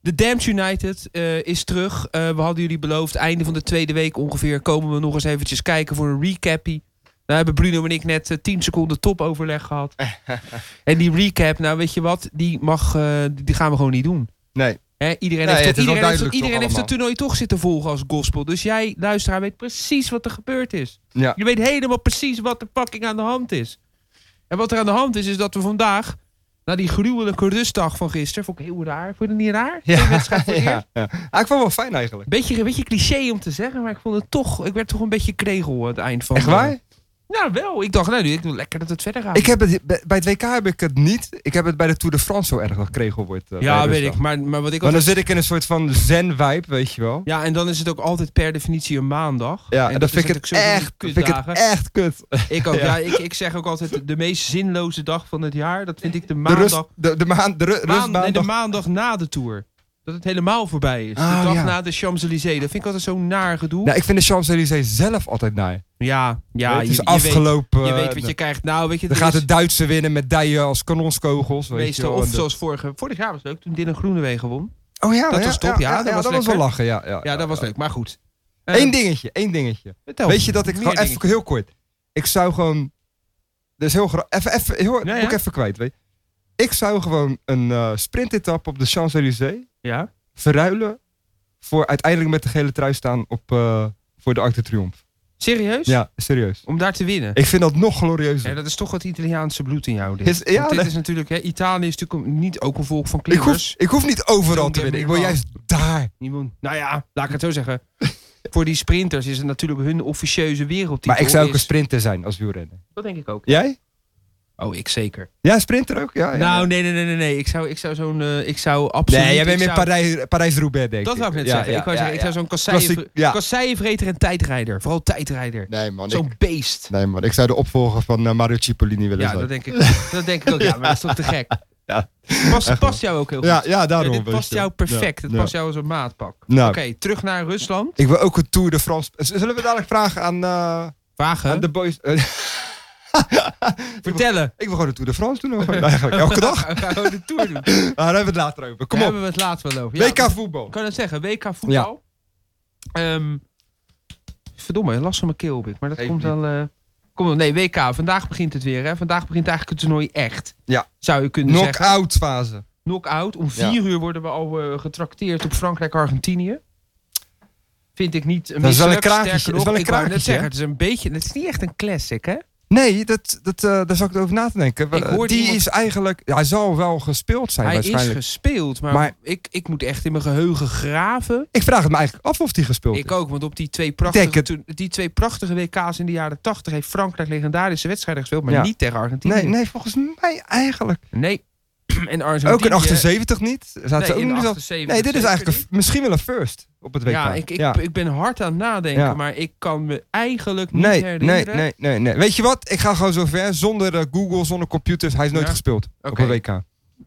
De Damned United eh, is terug. Eh, we hadden jullie beloofd, einde van de tweede week ongeveer... komen we nog eens eventjes kijken voor een recappie. Nou hebben Bruno en ik net eh, 10 seconden topoverleg gehad. en die recap, nou weet je wat, die, mag, eh, die gaan we gewoon niet doen. Nee. Hè, iedereen Nee, heeft, het het, is iedereen, wel heeft, duidelijk het- iedereen toch heeft het toernooi toch zitten volgen als gospel. Dus jij, luisteraar, weet precies wat er gebeurd is. Ja. Je weet helemaal precies wat er fucking aan de hand is. En wat er aan de hand is, is dat we vandaag... Na die gruwelijke rustdag van gisteren, vond ik heel raar. Vond je het niet raar? Twee wedstrijden voor het eerst. ja, ja. Ah, ik vond het wel fijn eigenlijk. Beetje, een beetje cliché om te zeggen, maar ik vond het toch... Ik werd toch een beetje kregel aan het eind van... Echt waar? Nou, wel. Ik dacht, nou, nu- ik doe lekker dat het verder gaat. Ik heb het, bij bij het WK heb ik het niet. Ik heb het bij de Tour de France zo erg gekregen wordt. eh, ja, bij weet ik. Rusland. Maar, maar wat ik Maar dan altijd... zit ik in een soort van zen-vibe, weet je wel. Ja, en dan is het ook altijd per definitie een maandag. Ja, en, dat, vind ik, is het natuurlijk echt, sowieso vind ik kutdagen. het echt kut. Ik ook, ja. Ja. ik, ik zeg ook altijd de meest zinloze dag van het jaar. Dat vind ik de De, maandag. rust, de, de, maan, de ru- maan- nee, de rustmaandag. maandag na de tour. Dat het helemaal voorbij is. Oh, de dag ja. na de Champs-Élysées. Dat vind ik altijd zo'n naar gedoe. Nou, ik vind de Champs-Élysées zelf altijd naar. ja, ja. het je- is je, afgelopen. Weet, je eh, weet wat je krijgt. Nou, weet je, Dan er gaat is de Duitse winnen met dijen als kanonskogels. Weet je, meestal. wel. Of En de- zoals vorige, vorig jaar was het leuk toen Dylan Groenewegen won. Oh ja, dat ja, was top, ja, dat dat, was was wel lekker. lachen, ja. Ja, Ja, dat was leuk. Maar goed. Eh, Eén dingetje, één dingetje. vertel. Weet je dat ik Meer gewoon dingen. even heel kort. Ik zou gewoon. Dus heel grappig. Even, even, heel, Ja, ja. moet ik even kwijt. Weet je. Ik zou gewoon een eh sprintetappe op de Champs-Élysées Ja. verruilen. Voor uiteindelijk met de gele trui staan op, eh, voor de Arc de Triomphe. Serieus? Ja, serieus. Om daar te winnen. Ik vind dat nog glorieuzer. Ja, dat is toch wat Italiaanse bloed in jou. Dit, Is- ja, Want dit nee. is natuurlijk, hè, Italië is natuurlijk een- niet ook een volk van ik, klimmers. hoef, ik hoef niet overal te winnen. Ik wil juist daar. Niemand. Nou ja, laat ik het zo zeggen. Voor die sprinters is het natuurlijk hun officieuze wereldtitel. Maar ik zou ook een is- sprinter zijn als wielrenner. Dat denk ik ook. Jij? Oh, ik zeker. Ja, sprinter ook? Ja, ja. Nou, nee, nee, nee, nee. nee. Ik zou, ik zou zo'n... eh, ik zou absoluut... nee, jij bent ik meer zou- Parij- Parijs-Roubaix, denk ik. Dat wou ik net Ja, zeggen. ja, ik wou ja, zeggen, ik ja. zou zo'n Klassiek, ja. kasseien- kasseienvreter en tijdrijder. Vooral tijdrijder. Nee, man. Ik, Zo'n beest. nee, man. Ik zou de opvolger van eh, Mario Cipollini willen Ja, zijn. dat denk ik ook. Dat denk ik ook. Ja, maar dat is toch te gek. Ja. Past, past jou ook heel goed. ja, ja, daarom. dit weet past je. jou perfect. Ja, Het ja. past jou als een maatpak. Nou, Oké, terug naar Rusland. ik wil ook een Tour de France. Z- Zullen we dadelijk vragen aan, eh, aan Wagen. de boys? Eh, Vertellen. ik wil gewoon de Tour de France doen. hoor. Eigenlijk elke dag. We gaan gewoon de tour doen. Maar daar hebben we het later over. Kom Daar op. hebben we het later wel over. Ja, WK voetbal. Ik kan het zeggen, WK voetbal. Ehm, verdomme, last van mijn keel heb ik. Maar dat Geeft komt niet. wel... eh, komt wel. Nee, WK. Vandaag begint het weer. Hè. Vandaag begint eigenlijk het toernooi echt. Ja. Zou je kunnen zeggen. Knock-out fase. Knock-out. Om vier uur worden we al eh, getrakteerd op Frankrijk-Argentinië. Vind ik niet Dat is wel een misselijk, sterker krakertje. Dat is nog, wel een ik wou net krakertje, zeggen, Het is een beetje... Het is niet echt een classic, hè? Nee, dat, dat, eh, daar zal ik over na te denken. Ik hoor die iemand- is eigenlijk... Ja, hij zal wel gespeeld zijn Hij is waarschijnlijk. gespeeld, maar, Maar- ik, ik moet echt in mijn geheugen graven. ik vraag het me eigenlijk af of die gespeeld Ik is. ook, want op die twee, prachtige, het. toen, die twee prachtige WK's in de jaren 80 heeft Frankrijk legendarische wedstrijden gespeeld, maar Ja. niet tegen Argentinië. Nee, nee, volgens mij eigenlijk. Nee. en Argentinië. Ook in 78 niet. Zaten ze eh, Nee, ook in niet zo- 78 nee, dit is zeker eigenlijk een- niet. misschien wel een first op het WK. Ja, ik, ik, ik ben hard aan het nadenken, Ja. maar ik kan me eigenlijk niet Nee, nee, herinneren. nee, nee, nee. Weet je wat? Ik ga gewoon zo ver. Zonder eh, Google, zonder computers. Hij is nooit Ja. gespeeld op Oké. een WK. Vind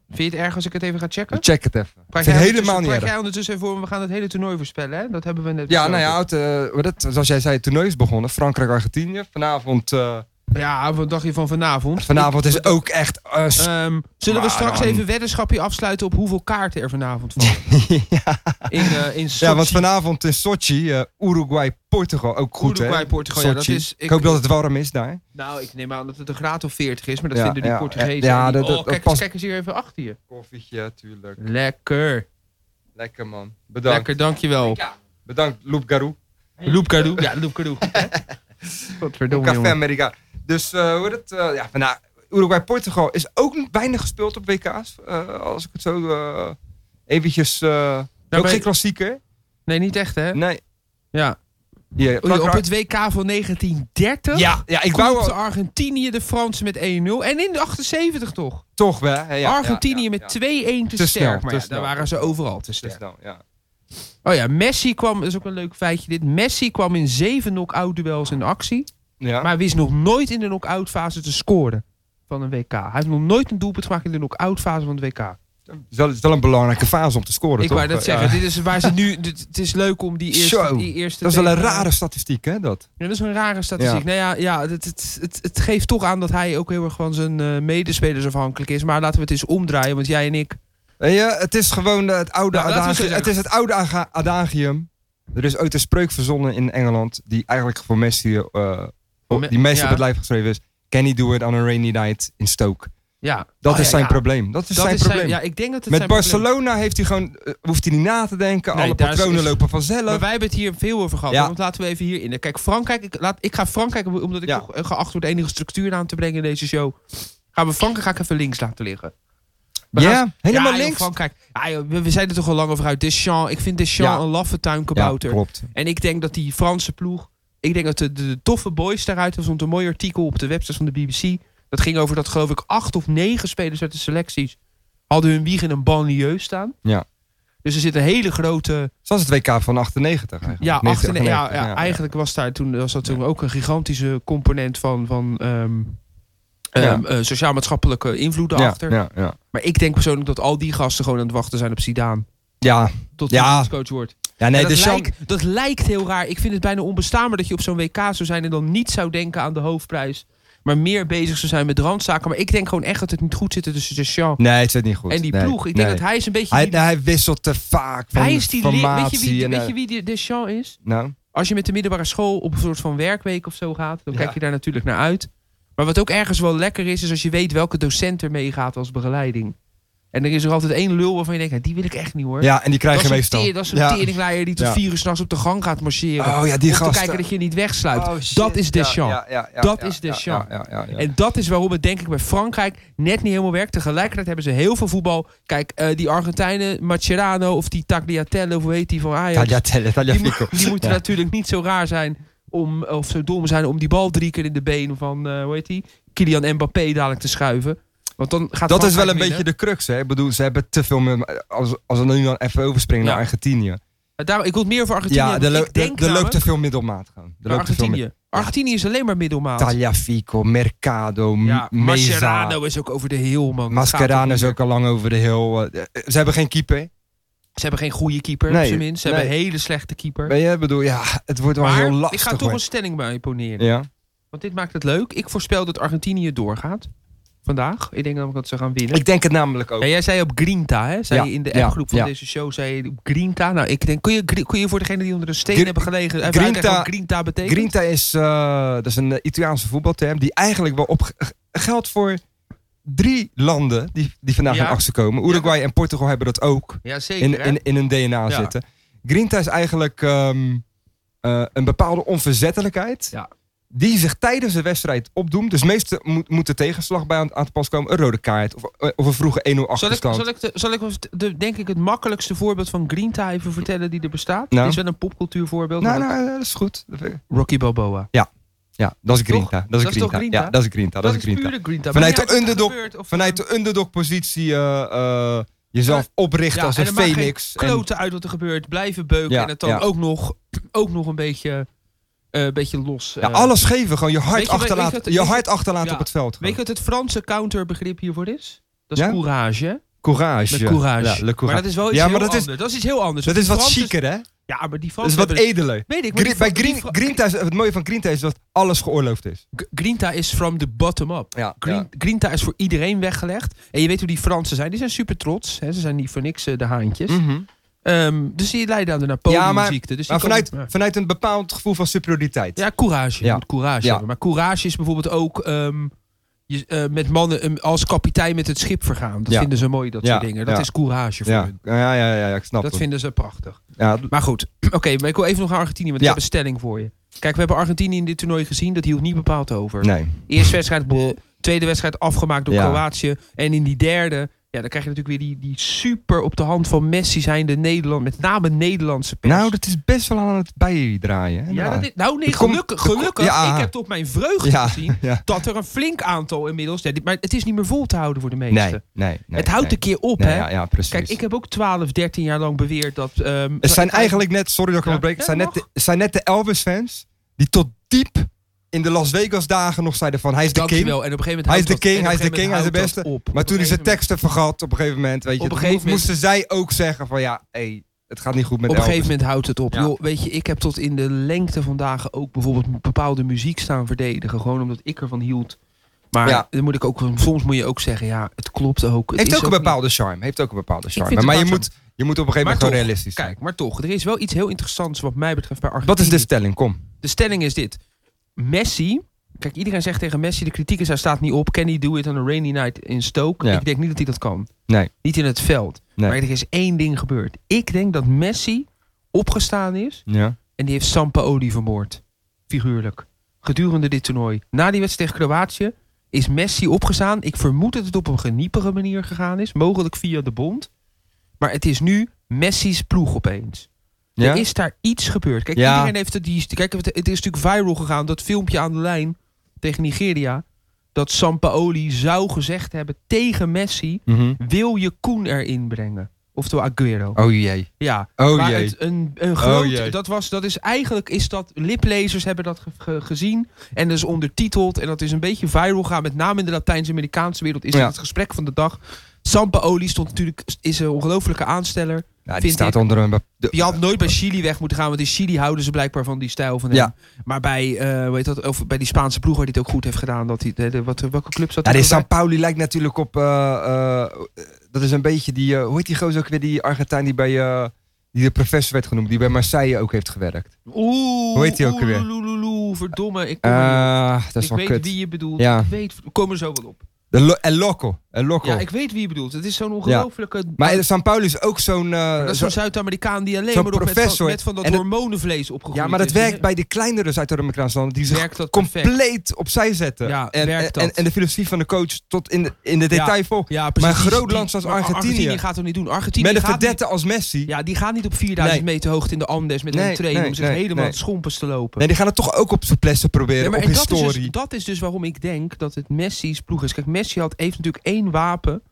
je het erg als ik het even ga checken? Check het even. Ik Praat vind het jij helemaal ondertussen- niet praat erg. jij ondertussen even voor, we gaan het hele toernooi voorspellen, hè? Dat hebben we net Ja, nou besproken. ja, het, eh, dat, zoals jij zei, het toernooi is begonnen. Frankrijk, Argentinië. Vanavond, eh, Ja, wat dacht je van vanavond? vanavond is ook echt... eh, s- Ehm, zullen we Maar straks dan- even weddenschapje afsluiten op hoeveel kaarten er vanavond vallen? In, eh in Sochi. ja, want vanavond in Sochi, eh, Uruguay, Portugal. Ook goed, hè? Uruguay, Portugal, ja, dat Sochi. is- Ik, ik- hoop dat het warm is daar. Nou, ik neem aan dat het een graad of 40 is, maar dat Ja, vinden die ja, Portugezen. ja, niet. dat- dat- oh, dat kijk, past- kijk eens hier even achter je. Koffietje, tuurlijk. Lekker. Lekker, man. Lekker, dankjewel. Bedankt, Loep Garou. Loepkadoe. Ja, Loepkadoe. Godverdomme, Café jongen. Nou, Amerika. Dus eh, hoe heet het? eh, ja, vandaag Uruguay-Portugal is ook niet weinig gespeeld op WK's. eh, als ik het zo eh, eventjes... eh, ook ben- geen klassieker. Nee, niet echt, hè? Nee. Ja. Ja, Oei, op Frankrijk- het WK van 1930 ja, ja, ik wou klopte al- Argentinië de Fransen met 1-0. En in de 78 toch? toch wel. hè, ja, Argentinië ja, met ja. 2-1 te, Te snel, sterk. Maar te ja, daar snel. waren ze overal te Dus sterk. nou, ja. Oh ja, Messi kwam, dat is ook een leuk feitje dit. Messi kwam in zeven knock-out duels in actie. Ja. Maar wist nog nooit in de knock-out fase te scoren van een WK. Hij heeft nog nooit een doelpunt gemaakt in de knock-out fase van het WK. Het is wel- het is wel een belangrijke fase om te scoren, Ik toch? wou net eh, Ja. zeggen, dit is waar ze nu. dit- het is leuk om die eerste. Zo, Die eerste Dat is wel een tegen- rare statistiek, hè? Dat. Ja, dat is een rare statistiek. Ja. Nou ja, ja het, het, het, het geeft toch aan dat hij ook heel erg van zijn eh, medespelers afhankelijk is. Maar laten we het eens omdraaien, want jij en ik Weet je, het is gewoon de- het oude Nou, laten we zo adagium. zeggen. Het is het oude aga- adagium. Er is ooit een spreuk verzonnen in Engeland die eigenlijk voor Messi, eh, Voor me- die Messi ja. op het lijf geschreven is. Can he do it on a rainy night in Stoke? Ja. Dat Oh, is ja, zijn ja. probleem. Dat is Dat zijn is probleem. zijn, ja, ik denk dat het Met zijn probleem- Barcelona heeft hij gewoon, eh, hoeft hij niet na te denken. Nee, Alle daar is- patronen is- lopen vanzelf. Maar wij hebben het hier veel over gehad. Ja. hoor, Want laten we even hierin. Kijk, Frankrijk. Ik, laat, ik ga Frankrijk, omdat ik Ja. toch eh, geacht word enige structuur aan te brengen in deze show. Gaan we Frankrijk ga ik even links laten liggen. We ja, gaan- helemaal Ja, joh, links. Frankrijk. Ja, joh, we, we zijn er toch al lang over uit. Deschamps. Ik vind Deschamps Ja. een laffe Ja, tuinkabouter. klopt. en ik denk dat die Franse ploeg. Ik denk dat de, de, de toffe boys daaruit. Er stond een mooi artikel op de website van de BBC. Dat ging over dat, geloof ik, acht of negen spelers uit de selecties. hadden hun wieg in een banlieue staan. Ja. Dus er zit een hele grote. Zoals het WK van 98 eigenlijk. Ja, 1998, 98, ja, ja, ja. eigenlijk was, daar toen, was dat toen ook een gigantische component van, van ehm, Ja. ehm, eh, sociaal-maatschappelijke invloeden Ja, achter. ja, ja. Maar ik denk persoonlijk dat al die gasten gewoon aan het wachten zijn op Zidane. Ja, Tot hij Ja. bondscoach wordt. ja nee, En de dat, Champ- lijkt, dat lijkt heel raar. Ik vind het bijna onbestaanbaar dat je op zo'n WK zou zijn en dan niet zou denken aan de hoofdprijs. Maar meer bezig zou zijn met randzaken. Maar ik denk gewoon echt dat het niet goed zit tussen Deschamps Nee, het zit niet goed. en die Nee, ploeg. Ik denk nee. dat hij is een beetje... Hij, die- nee, hij wisselt te vaak van hij is die... leer- Weet je formatie. wie, en, weet eh, je wie die Deschamps is? nou, als je met de middelbare school op een soort van werkweek of zo gaat, dan Ja. kijk je daar natuurlijk naar uit. Maar wat ook ergens wel lekker is, is als je weet welke docent er meegaat als begeleiding. En er is er altijd één lul waarvan je denkt, "Nou, die wil ik echt niet hoor. ja, en die dat, krijg je is een meestal. teer- dat is een Ja. teringlaaier die tot Ja. vier uur s'nachts op de gang gaat marcheren. Oh ja, die om te gasten. kijken dat je niet wegsluit. Oh, shit. dat is Deschamps. Ja, ja, ja, ja, Dat ja, is Deschamps. Ja, ja, ja, ja. En dat is waarom het denk ik bij Frankrijk net niet helemaal werkt. Tegelijkertijd hebben ze heel veel voetbal. Kijk, eh, die Argentijnen, Mascherano of die Tagliatelle, of hoe heet die van Ajax. Tagliatelle, eh, Die, mo- Tagliafico. die moeten Ja. natuurlijk niet zo raar zijn om, of zo dom zijn om die bal drie keer in de been van, eh, hoe heet die, Kylian Mbappé dadelijk te schuiven. Want dan gaat Dat is wel Frankrijk een winnen. beetje de crux. Hè? Ik bedoel, ze hebben te veel... meer- Als, als we nu dan even overspringen Ja. naar Argentinië. Maar daarom- ik wil het meer over Argentinië. Ja, hebben, er, lo- want ik er- denk er loopt namelijk te veel middelmaat gewoon. Er naar loopt te veel Argentinië. Argentinië is alleen maar middelmaat. Tagliafico, Mercado, M- ja, Meza. Mascherano is ook over de heel man. Mascherano is Gaat ook al lang over de heel... eh, eh, ze hebben geen keeper. Ze hebben geen goede keeper, Nee, op zijn minst. Ze nee. hebben een hele slechte keeper. Weet je, ik bedoel, ja, het wordt wel maar heel lastig. ik ga toch hoor. een stelling bij poneren. Ja, Want dit maakt het leuk. Ik voorspel dat Argentinië doorgaat. Vandaag. Ik denk namelijk dat ze gaan winnen. ik denk het namelijk ook. Ja, jij zei op Grinta, hè? Zei Ja, je in de ja, appgroep van ja. deze show, zei je op Grinta. Nou, ik denk, kun je, gri- kun je voor degenen die onder een steen Gr- hebben gelegen, even Grinta- uitleggen wat Grinta betekent? Grinta is, eh, dat is een eh, Italiaanse voetbalterm die eigenlijk wel op geldt voor drie landen die, die vandaag Ja. in actie komen. Uruguay en Portugal hebben dat ook Ja, zeker. in, hè? in, in hun DNA Ja. zitten. Grinta is eigenlijk ehm, eh, een bepaalde onverzettelijkheid Ja. die zich tijdens de wedstrijd opdoemt. Dus meestal moet, moet de tegenslag bij aan, aan te pas komen. Een rode kaart of, eh, of een vroege 1-0 zal ik, achterstand. zal ik, de, zal ik de- de, denk ik het makkelijkste voorbeeld van Grinta even vertellen die er bestaat? Nou. Het is wel een popcultuurvoorbeeld. Nou, maar nou, dat is goed. Dat vind ik- Rocky Balboa. Ja, dat is Grinta. Dat is, Dat is toch Grinta. Grinta? Ja, dat is Grinta. Dat, is Grinta. pure Grinta. Vanuit Maakt de niet uit wat er underdog- gebeurt of- vanuit de underdog-positie eh, eh, jezelf oprichten Ja, als en een er maakt geen phoenix. En, kloten uit wat er gebeurt. Blijven beuken Ja, en het dan ja. ook, nog, ook nog een beetje, eh, beetje los. ja, eh, alles geven, gewoon je hart weet je- weet- achterlaten, weet je je, wat- weet je- hart achterlaten ja. op het veld. Weet je gewoon. wat het Franse counterbegrip hiervoor is? Dat is Ja? courage. hè? courage. Met courage. Ja, le courage. Maar dat is wel iets Ja, maar heel dat is- anders. dat is iets heel anders. dat is wat Die Fransen- chiquer, hè? Ja, maar die Dat Fransen is wat hebben- edeler. Weet ik, maar die Gri- bij Fran- die Green, Fra- Grinta is, het mooie van Grinta is dat alles geoorloofd is. G- Grinta is from the bottom up. Ja, Green, Grinta is voor iedereen weggelegd. En je weet hoe die Fransen zijn. Die zijn super trots. Hè? Ze zijn niet voor niks eh, de haantjes. Ehm, dus die lijden aan de Napoleonziekte. dus die Hm. Mhm. Maar vanuit, komen- ja. vanuit een bepaald gevoel van superioriteit. Ja, courage. Je Ja. moet courage Ja. hebben. Maar courage is bijvoorbeeld ook ehm, je, eh, met mannen ehm, als kapitein met het schip vergaan. Dat Ja. vinden ze mooi, dat Ja, soort dingen. Dat ja. is courage voor ja. hun. Ja, ja, ja, ja, ik snap Dat het. vinden ze prachtig. Ja, Maar goed, oké, maar ik wil even nog naar Argentinië, want Ja. ik heb een stelling voor je. Kijk, we hebben Argentinië in dit toernooi gezien, dat hield niet bepaald over. nee. Eerste wedstrijd, bleh. tweede wedstrijd afgemaakt door Ja. Kroatië. En in die derde, ja, dan krijg je natuurlijk weer die, die super op de hand van Messi zijnde Nederland, met name Nederlandse pers. Nou, dat is best wel aan het bijdraaien. hè, ja, daar. dat is, nou nee, Dat komt- gelukkig, dat komt- gelukkig ja. ik heb tot mijn vreugde Ja, gezien ja. dat er een flink aantal inmiddels, ja, dit- maar het is niet meer vol te houden voor de meesten. Nee, nee, nee, het houdt nee. een keer op, Nee, hè. Ja, ja, precies. Kijk, ik heb ook 12, 13 jaar lang beweerd dat... ehm, Het zijn ik eigenlijk- eigenlijk net, sorry dat ik Ja. onderbreek, het zijn, Ja, net de, het zijn net de Elvis-fans die tot diep in de Las Vegas dagen nog zeiden van hij is de king. Dankjewel. En op een gegeven moment Hij is houdt de dat- king, en op hij is een de gegeven king, hij is moment de houdt dat op. Maar Op toen een hij zijn gegeven teksten vergat op een gegeven moment, weet je, Op een toen gegeven moment- moesten zij ook zeggen van ja, hey, het gaat niet goed met moment- Op een Elvis. gegeven moment houdt het op. Ja. Joh, weet je, ik heb tot in de lengte van dagen ook bijvoorbeeld bepaalde muziek staan verdedigen. Gewoon omdat ik ervan hield Maar Ja. dan moet ik ook, soms moet je ook zeggen, ja, het klopt ook. Het Heeft is ook een niet- bepaalde charme. Heeft ook een bepaalde vind charme. het Maar wel je charme. moet, je moet op een gegeven moment Maar gewoon toch, realistisch zijn. Kijk, maar toch, er is wel iets heel interessants wat mij betreft bij Argentinië. Wat is de stelling? Kom. De stelling is dit. Messi... Kijk, iedereen zegt tegen Messi, de kritiek is, hij staat niet op. Can he do it on a rainy night in Stoke? Ja. Ik denk niet dat hij dat kan. Nee. Niet in het veld. Nee. Maar er is één ding gebeurd. Ik denk dat Messi opgestaan is Ja. en die heeft Sampaoli vermoord. Figuurlijk. Gedurende dit toernooi. Na die wedstrijd tegen Kroatië is Messi opgestaan. Ik vermoed dat het op een geniepige manier gegaan is. Mogelijk via de bond. Maar het is nu Messi's ploeg opeens. Ja? Er is daar iets gebeurd. Kijk, Ja. iedereen heeft het, die, kijk, het het is natuurlijk viral gegaan. Dat filmpje aan de lijn tegen Nigeria. Dat Sampaoli zou gezegd hebben tegen Messi. Mhm. Wil je Koen erin brengen? Oftewel Aguero. Oh jee. Ja. Oh maar jee. Oh het, een, een groot, jee. dat was, dat is eigenlijk, is dat, liplezers hebben dat ge- ge- gezien. En dat is ondertiteld. En dat is een beetje viral gaan. Met name in de Latijns-Amerikaanse wereld is Ja. dat het gesprek van de dag. Sampaoli stond natuurlijk, is een ongelofelijke aansteller. Nou, die vind staat ik- onder een... bep- de- Je had nooit bij Chili weg moeten gaan, want in Chili houden ze blijkbaar van die stijl van hem. Ja. Maar bij, eh weet dat, of bij die Spaanse ploeg waar hij het ook goed heeft gedaan. Dat hij, de, de- wat, welke club zat Ja, hij die ook bij? San Pauli lijkt natuurlijk op. eh, eh, dat is een beetje die. eh, hoe heet die gozer ook weer? Die Argentijn die bij. eh, die de professor werd genoemd. Die bij Marseille ook heeft gewerkt. Oeh, Hoe heet die ook oeh, weer? loe, loe, loe, verdomme, ik, kom er niet op. Ah, dat is ik wel weet kut. wie je bedoelt. Ja. Ik weet, we komen er zo wel op. De lo El Loco. El Loco. Ja, ik weet wie je bedoelt. Het is zo'n ongelooflijke... maar San Pauli is ook zo'n. eh, dat is zo- zo'n Zuid-Amerikaan die alleen zo'n maar op met van, professor. met van dat En dat- hormonenvlees opgegroeid ja, maar dat is. werkt bij de kleinere Zuid-Amerikaanse landen. Die zich Werkt dat perfect. compleet opzij zetten. Ja, en, werkt en, dat. en de filosofie van de coach tot in de, in de Ja. detail vol. Ja, precies. Maar Die- groot die- land zoals maar Argentinië Argentinië gaat dat niet doen. Argentinië Met een gaat niet- verdette als Messi. Ja, die gaan niet op 4000 Nee. meter hoogte in de Andes met Nee, een trainer nee, om zich nee, helemaal nee. schompers te lopen. Nee, die gaan het toch ook op zijn plessen proberen. Nee, maar op en dat, is historie. dus, dat is dus waarom ik denk dat het Messi's ploeg is. Kijk, Messi had, heeft natuurlijk één wapen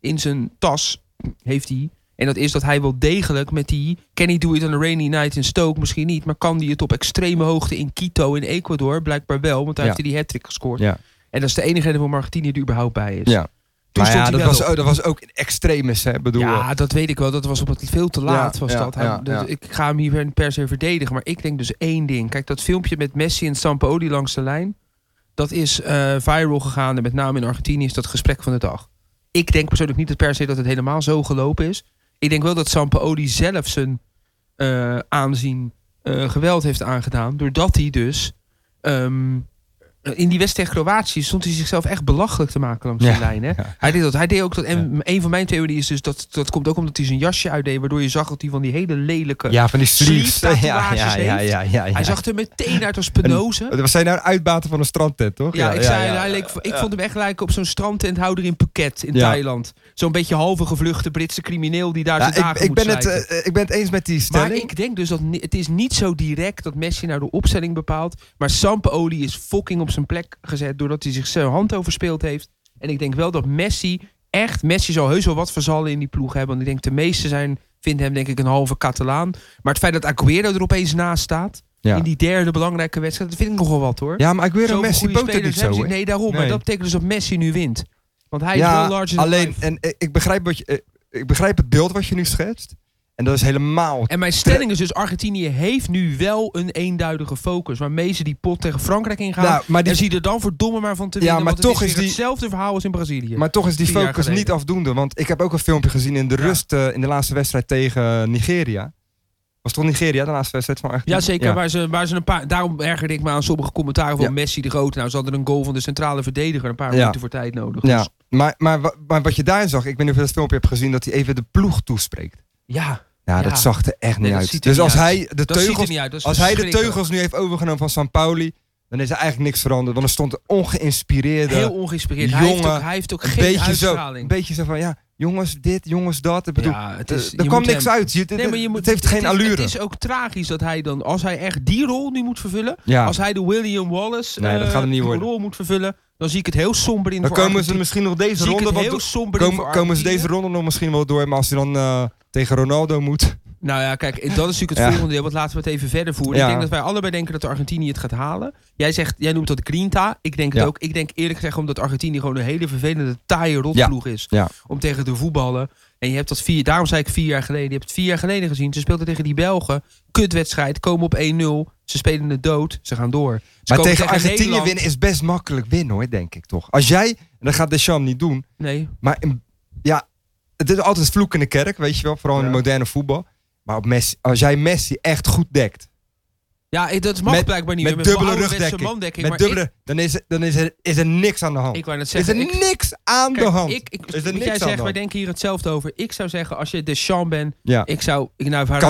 in zijn tas. Heeft hij. En dat is dat hij wel degelijk met die... Can he do it on a rainy night in Stoke? Misschien niet. Maar kan hij het op extreme hoogte in Quito in Ecuador? Blijkbaar wel, want daar Ja. heeft hij die hat-trick gescoord. Ja. En dat is de enige reden waarom Argentinië er überhaupt bij is. Ja. Toen stond maar ja, hij dat wel was, op. ook- dat was ook extremis, hè? Bedoel, Ja, dat weet ik wel. Dat was op het veel te laat. was ja, dat. Hij- ja, dat- ja. Ik ga hem hier per se verdedigen. Maar ik denk dus één ding. Kijk, dat filmpje met Messi en Sampaoli langs de lijn. Dat is eh, viral gegaan. En met name in Argentinië is dat gesprek van de dag. Ik denk persoonlijk niet dat per se dat het helemaal zo gelopen is. Ik denk wel dat Sampaoli zelf zijn eh, aanzien eh, geweld heeft aangedaan. Doordat hij dus ehm, in die wedstrijd tegen Kroatië stond hij zichzelf echt belachelijk te maken langs Ja, de lijn. Hè? ja. Hij deed dat. Hij deed ook dat. En een van mijn theorieën is dus dat dat komt ook omdat hij zijn jasje uitdeed. Waardoor je zag dat hij van die hele lelijke. ja, van die sleeves. sleeves. Ja, ja, Ja, ja, ja, ja, ja, ja, Hij zag er meteen uit als Penose. Was zij nou een uitbater van een strandtent, toch? Ja, ik, zei, hij leek, ik vond hem echt lijken op zo'n strandtenthouder in Phuket in Ja. Thailand. Zo'n beetje halve gevluchte Britse crimineel die daar Ja, zijn ik, dagen ik, moet ben het, slijten. eh, ik ben het eens met die Maar stelling. ik denk dus dat ni- het is niet zo direct dat Messi nou de opstelling bepaalt. Maar Sampaoli is fucking op zijn plek gezet doordat hij zich zijn hand overspeeld heeft. En ik denk wel dat Messi echt... Messi zal heus wel wat verzallen in die ploeg hebben. Want ik denk de meeste zijn, vinden hem denk ik een halve Catalaan. Maar het feit dat Aguero er opeens naast staat... ja. in die derde belangrijke wedstrijd, dat vind ik nogal wat hoor. ja, maar ik weer Zoveel een Messi goede poot het niet spelers hebben zo, ze- hè? Nee, daarom. Maar Nee. dat betekent dus dat Messi nu wint. Want hij is ja, wel larger than alleen, life. en eh, ik begrijp, wat je, eh, ik begrijp het beeld wat je nu schetst. En dat is helemaal... En mijn stelling is dus, Argentinië heeft nu wel een eenduidige focus. Waarmee ze die pot tegen Frankrijk ingaan. Nou, maar, en die, zie er dan verdomme maar van te Ja, winnen. maar want het toch is, is weer die- hetzelfde verhaal als in Brazilië. maar toch is die Tien jaar focus geleden. niet afdoende. Want ik heb ook een filmpje gezien in de Ja. rust eh, in de laatste wedstrijd tegen eh, Nigeria. Was toch Nigeria de laatste wedstrijd van Argentinië? ja, zeker. Waar ze, waar ze een paar, daarom ergerde ik me aan sommige commentaren van Ja. Messi de Grote. Nou, ze hadden een goal van de centrale verdediger een paar Ja. minuten voor tijd nodig. Ja, Dus, maar, maar, wa- maar wat je daarin zag, ik weet niet of je dat filmpje hebt gezien, dat hij even de ploeg toespreekt. ja Ja, Ja. dat zag er echt Nee, niet dat ziet uit. er Dus niet als uit. hij, de dat ziet er teugels, niet uit. Dat is als hij de verschrikkelijk. teugels nu heeft overgenomen van San Pauli, dan is er eigenlijk niks veranderd. Want er stond een ongeïnspireerde, Heel ongeïnspireerd. hij, heeft jongen, ook, hij heeft ook een, geen beetje zo, een uitstraling. beetje zo van, ja, jongens dit, jongens dat. Ik bedoel, ja, het eh, is, er je kwam moet niks hem- uit. Je- dit- Nee, maar je dit- moet, het heeft geen is- allure. Het is ook tragisch dat hij dan, als hij echt die rol nu moet vervullen, ja, Als hij de William Wallace Ah. Nee, dat eh, gaat hem niet die worden. rol moet vervullen, dan zie ik het heel somber in dan voor komen ze Argentinië. misschien nog deze zie ik ronde het wat heel door- somber in komen, voor komen ze deze Argentinië. ronde nog misschien wel door, maar als hij dan eh, tegen Ronaldo moet. Nou ja, kijk, dat is natuurlijk het Ja. volgende deel. Want laten we het even verder voeren. Ik Ja. denk dat wij allebei denken dat de Argentinië het gaat halen. Jij zegt, jij noemt dat Grinta. Ik denk het Ja. ook. Ik denk eerlijk gezegd omdat Argentinië gewoon een hele vervelende, taaie rotploeg is. Ja. Om tegen te voetballen. En je hebt dat vier, daarom zei ik vier jaar geleden. Je hebt het vier jaar geleden gezien. Ze speelden tegen die Belgen. Kutwedstrijd. Komen op 1-0. Ze spelen het dood. Ze gaan door. Ze Maar komen tegen Argentinië Nederland. winnen is best makkelijk winnen hoor, denk ik toch. Als jij, en dat gaat Deschamps niet doen, Nee. maar in- ja, het is altijd vloek in de kerk, weet je wel. Vooral in Ja. de moderne voetbal. Maar op Messi, als jij Messi echt goed dekt, Ja, ik- dat mag Met- blijkbaar niet met meer. dubbele ouderwetse rugdekking. mandekking, met maar dubbele, dan, is, er- dan is, er, is er niks aan de hand. Ik, ik wou net is zeggen. er ik- niks aan kijk, de hand. Ik, ik, Is er wat niks jij aan zegt, de wij hand? denken hier hetzelfde over. Ik zou zeggen, als je Deschamps bent, ja. ik zou... Ik, nou, Kanté,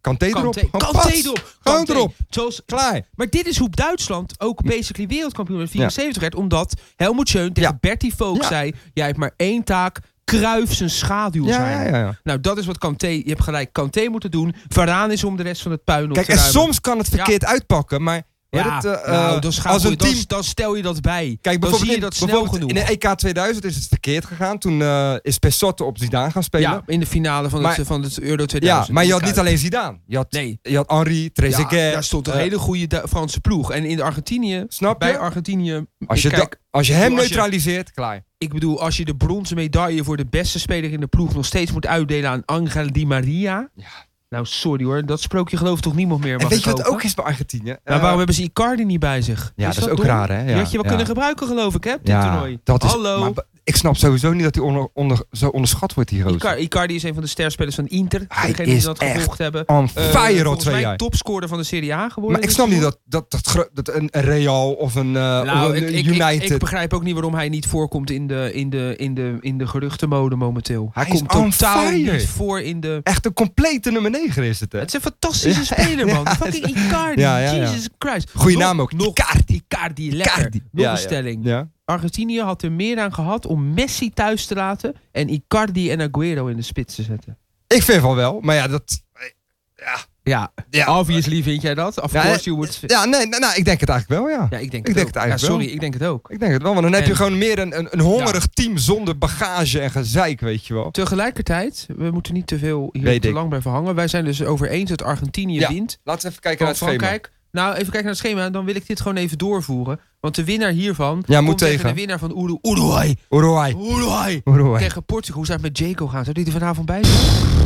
Kanté erop. Kanté, Gewoon Kanté pas. erop. Gewoon Kanté. erop. Zoals, Klaar. maar dit is hoe Duitsland ook basically wereldkampioen in 74 werd. Omdat Helmut Schön tegen Ja. Bertie Vogt Ja. zei... Jij hebt maar één taak. Kruif zijn schaduw Ja, zijn. ja, ja, ja. Nou, dat is wat Kanté... Je hebt gelijk, Kanté moeten doen. Varaan is om de rest van het puin op Kijk, te en ruimen. soms kan het verkeerd uitpakken, maar... maar Ja, dat, eh, nou, eh, dan, schakel als je- een dan- team dan stel je dat bij. Kijk, dan zie bijvoorbeeld je dat snel genoeg. bijvoorbeeld in de EK 2000 is het verkeerd gegaan. Toen eh, is Pesotto op Zidane gaan spelen. ja, Ja, in de finale van, het, Maar- van het Euro 2000. maar je in had de niet Kuip. alleen Zidane. Je had, Nee. je had Henri, Ja, Trezeguet. daar stond een eh, hele goede Du- Franse ploeg. En in Argentinië, Snap je? bij Argentinië... als, je ik kijk, da- als je hem als je- neutraliseert, klaar. Ik bedoel, als je de bronzen medaille voor de beste speler in de ploeg nog steeds moet uitdelen aan Angel Di Maria. Ja. Nou, sorry hoor, dat sprookje gelooft toch niemand meer. En mag weet ik je wat hopen? ook is bij Argentinië? Nou, Eh, waarom hebben ze Icardi niet bij zich? ja, dat is ook dom? raar, hè? Die Ja, had je wel ja. kunnen gebruiken, geloof ik, hè? op Dit Ja, toernooi. dat is- maar Hallo. b- ik snap sowieso niet dat hij onder, onder, zo onderschat wordt, die roos. Icar- Icardi is een van de sterspelers van Inter. Hij Voor degenen die is dat echt gevolgd hebben. On Eh, fire al volgens twee mij jaar. topscorer van de Serie A geworden. Maar ik dit snap niet seizoen. dat, dat, dat, gro- dat een Real of een, eh, of Nou, een ik, ik, ik, United... ik begrijp ook niet waarom hij niet voorkomt in de, in de, in de, in de geruchtenmode momenteel. Hij is komt on totaal fire. niet voor in de... Echt een complete nummer 9 is het, hè? Het is een fantastische speler, man. Fucking Icardi. Ja, ja, ja. Jesus Christ. Goeie Nog- naam ook. Nog Icardi. Icardi, lekker. Icardi. Nog Ja, een ja. stelling. Ja. Argentinië had er meer aan gehad om Messi thuis te laten... en Icardi en Agüero in de spits te zetten. Ik vind van wel, maar ja, dat... Ja, Ja, ja. obviously vind jij dat. Of Ja, course you would... ja nee, nou, nou, ik denk het eigenlijk wel, ja. Ja, ik denk Ik het denk ook. het eigenlijk ja, sorry, wel. ik denk het ook. Ik denk het wel, want dan heb En- je gewoon meer een, een, een hongerig team zonder bagage en gezeik, weet je wel. Tegelijkertijd, we moeten niet te veel hier Weet te ik. lang bij verhangen. Wij zijn dus over eens dat Argentinië Ja. wint. Laten we even kijken naar Van het schema. Frankrijk. Nou, even kijken naar het schema. Dan wil ik dit gewoon even doorvoeren. Want de winnaar hiervan Ja, moet komt tegen tegen. de winnaar van Urugu- Uruguay. Uruguay. Uruguay. Uruguay. Tegen Portugal. Hoe zou het met Jaco gaan? Zou die er vanavond bij zijn? Ging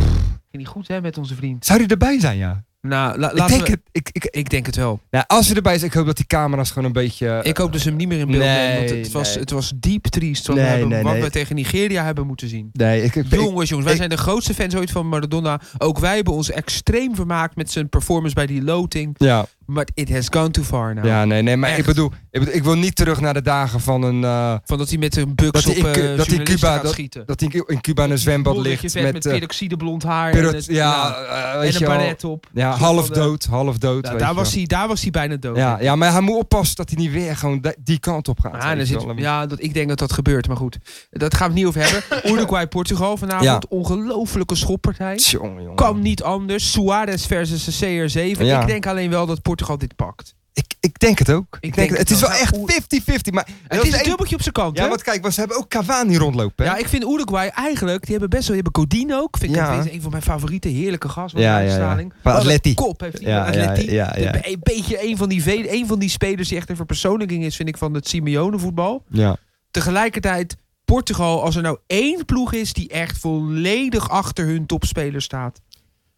niet goed, hè, met onze vriend. Zou hij erbij zijn, ja? Nou, la- Ik laten denk we... het. Ik, ik, Ik denk het wel. nou, als hij erbij is, ik hoop dat die camera's gewoon een beetje... Ik hoop dat ze hem niet meer in beeld nee, nemen. Want het was, nee. het was diep triest wat, we, Nee, hebben- nee, wat nee. we tegen Nigeria hebben moeten zien. eh, Nee, ik, ik, ik- Jongens, jongens, wij ik- zijn de grootste fans ooit van Maradona. Ook wij hebben ons extreem vermaakt met zijn performance bij die loting. ja, Maar it has gone too far now. ja, nee, nee, maar Echt. ik bedoel, ik bedoel, ik wil niet terug naar de dagen van een... eh, Van dat hij met een buks Dat op hij in eh Cu- dat hij in journalisten Cuba- gaat schieten. dat hij in Cuba in een zwembad Bolletje ligt vet met... met eh, peroxide blond haar. perot- en het- ja, eh, nou, en weet een je wel. baret op. Ja, Zo half van, eh, dood, half dood. nou, weet daar, je was wel. hij, daar was hij bijna dood. Ja, ja, maar hij moet oppassen dat hij niet weer gewoon da- die kant op gaat. Ah, weet dan je zit, wel. ja dat, ik denk dat dat gebeurt. Maar goed, dat gaan we het niet over hebben. Uruguay-Portugal vanavond. Ongelofelijke schoppartij. Tjonge, jonge. Kan niet anders. Suarez versus de CR7. Ja. Ik denk alleen wel dat Portugal dit pakt. Ik, ik denk het ook. Ik denk denk het, het het is wel. wel Nou, oe- echt 50-50. Maar Het is dat een één- dubbeltje op zijn kant. Ja, hè? want kijk, want ze hebben ook Cavani rondlopen. hè? Ja, ik vind Uruguay eigenlijk, die hebben best wel, die hebben Godin ook. Vind ik Ja. dat is een van mijn favoriete heerlijke gas met Ja, een ja, ja. uitstraling. Van Wat een Atleti. Kop heeft hij Ja, van Atleti. ja, ja, ja. De- Een beetje een van, die vele, een van die spelers die echt een verpersoonlijking is, vind ik, van het Simeone voetbal. ja. Tegelijkertijd, Portugal, als er nou één ploeg is die echt volledig achter hun topspeler staat.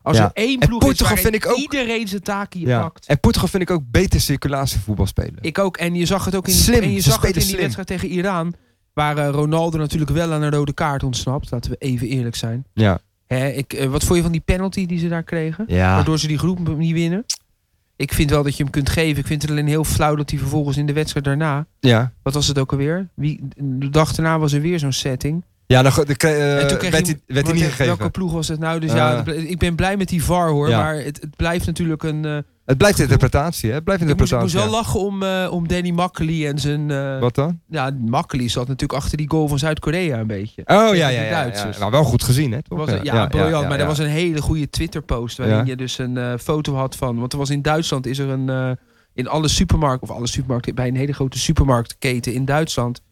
Als Ja. er één En ploeg Portugal is waarin vind ik ook- iedereen zijn taak hier Ja. pakt. En Portugal vind ik ook beter circulatievoetbal spelen. Ik ook. En je zag het ook in, Slim, en je ze zag het in spelen die slim. wedstrijd tegen Iran. Waar eh, Ronaldo natuurlijk wel aan een rode kaart ontsnapt. Laten we even eerlijk zijn. Ja. Hè, ik, eh, wat vond je van die penalty die ze daar kregen? Ja. Waardoor ze die groep niet winnen. Ik vind wel dat je hem kunt geven. Ik vind het alleen heel flauw dat hij vervolgens in de wedstrijd daarna... Ja. Wat was het ook alweer? Wie, de dag daarna was er weer zo'n setting. Ja, dan, go- dan kre- eh, en toen kreeg werd hij- hij werd hij want niet tegen gegeven. Welke ploeg was het nou? Dus ja, Eh. het ble- ik ben blij met die VAR hoor. Ja. Maar het, het blijft natuurlijk een... eh, Het blijft interpretatie, hè? Het blijft ik, moest, ik moest interpretatie. wel ja. lachen om, eh, om Danny Makkely en zijn... eh, Wat dan? ja, Makkely zat natuurlijk achter die goal van Zuid-Korea een beetje. Oh ja, ja, die ja. ja, Duitsers. Maar wel goed gezien, hè? toch? Was, ja, briljant. maar ja. er was een hele goede Twitter-post waarin Ja. je dus een eh, foto had van. Want er was in Duitsland is er een eh, in alle supermarkten of alle supermarkten bij een hele grote supermarktketen in Duitsland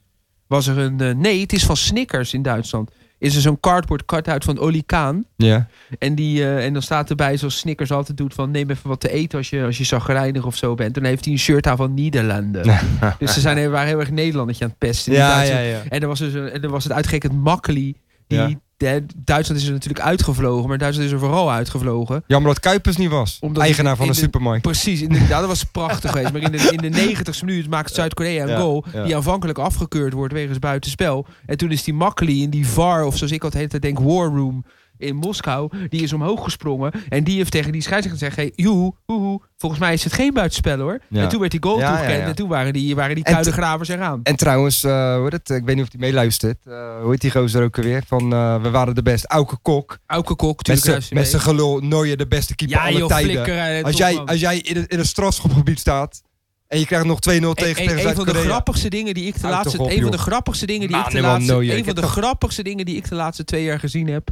was er een eh, nee, het is van Snickers in Duitsland. Is er zo'n cardboard cut-out van Oli Kaan. Ja. En, die, eh, en dan staat erbij, zoals Snickers altijd doet, van neem even wat te eten als je, als je zagrijnig of zo bent. Dan heeft hij een shirt aan van Nederlanden. dus ze zijn, heel- waren heel erg Nederlandertje aan het pesten. in Ja, Duitsland. ja, ja. En er was, dus een, en er was het uitgerekend Makkely die Ja. de- Duitsland is er natuurlijk uitgevlogen, maar Duitsland is er vooral uitgevlogen. Jammer dat Kuipers niet was. Omdat Eigenaar in- van in een de- supermarkt. Precies, inderdaad, dat was prachtig geweest. Maar in de, in de 90ste minuut maakt Zuid-Korea een Ja, goal ja. die aanvankelijk afgekeurd wordt wegens buitenspel. En toen is die Makkeli in die VAR, of zoals ik altijd de hele tijd denk, War Room in Moskou, die is omhoog gesprongen. En die heeft tegen die scheidsrechter gezegd, hey, joe, hoehoe, volgens mij is het geen buitenspel hoor. Ja. En toen werd die goal Ja, ja, toegekend ja. en toen waren die, waren die En kuile gravers eraan. En trouwens, eh, hoe heet het? ik weet niet of hij meeluistert. Eh hoe heet die gozer ook alweer? Van eh, we waren de best. Auke Kok. Auke Kok, Met natuurlijk. luister je zijn- met mee. zijn gelul. Nooit de beste keeper ja, aller joh, tijden. flikker. eh, als, top, jij, man. als jij in het, in het strafschopgebied staat. en je krijgt nog 2-0 tegen, Een- tegen E- een, een van de Zuid-Korea. grappigste dingen die ik de Houd laatste toch op, een van joh. de grappigste dingen die ik de Manuel laatste Neuer, een ik van heb de toch- grappigste dingen die ik de laatste twee jaar gezien heb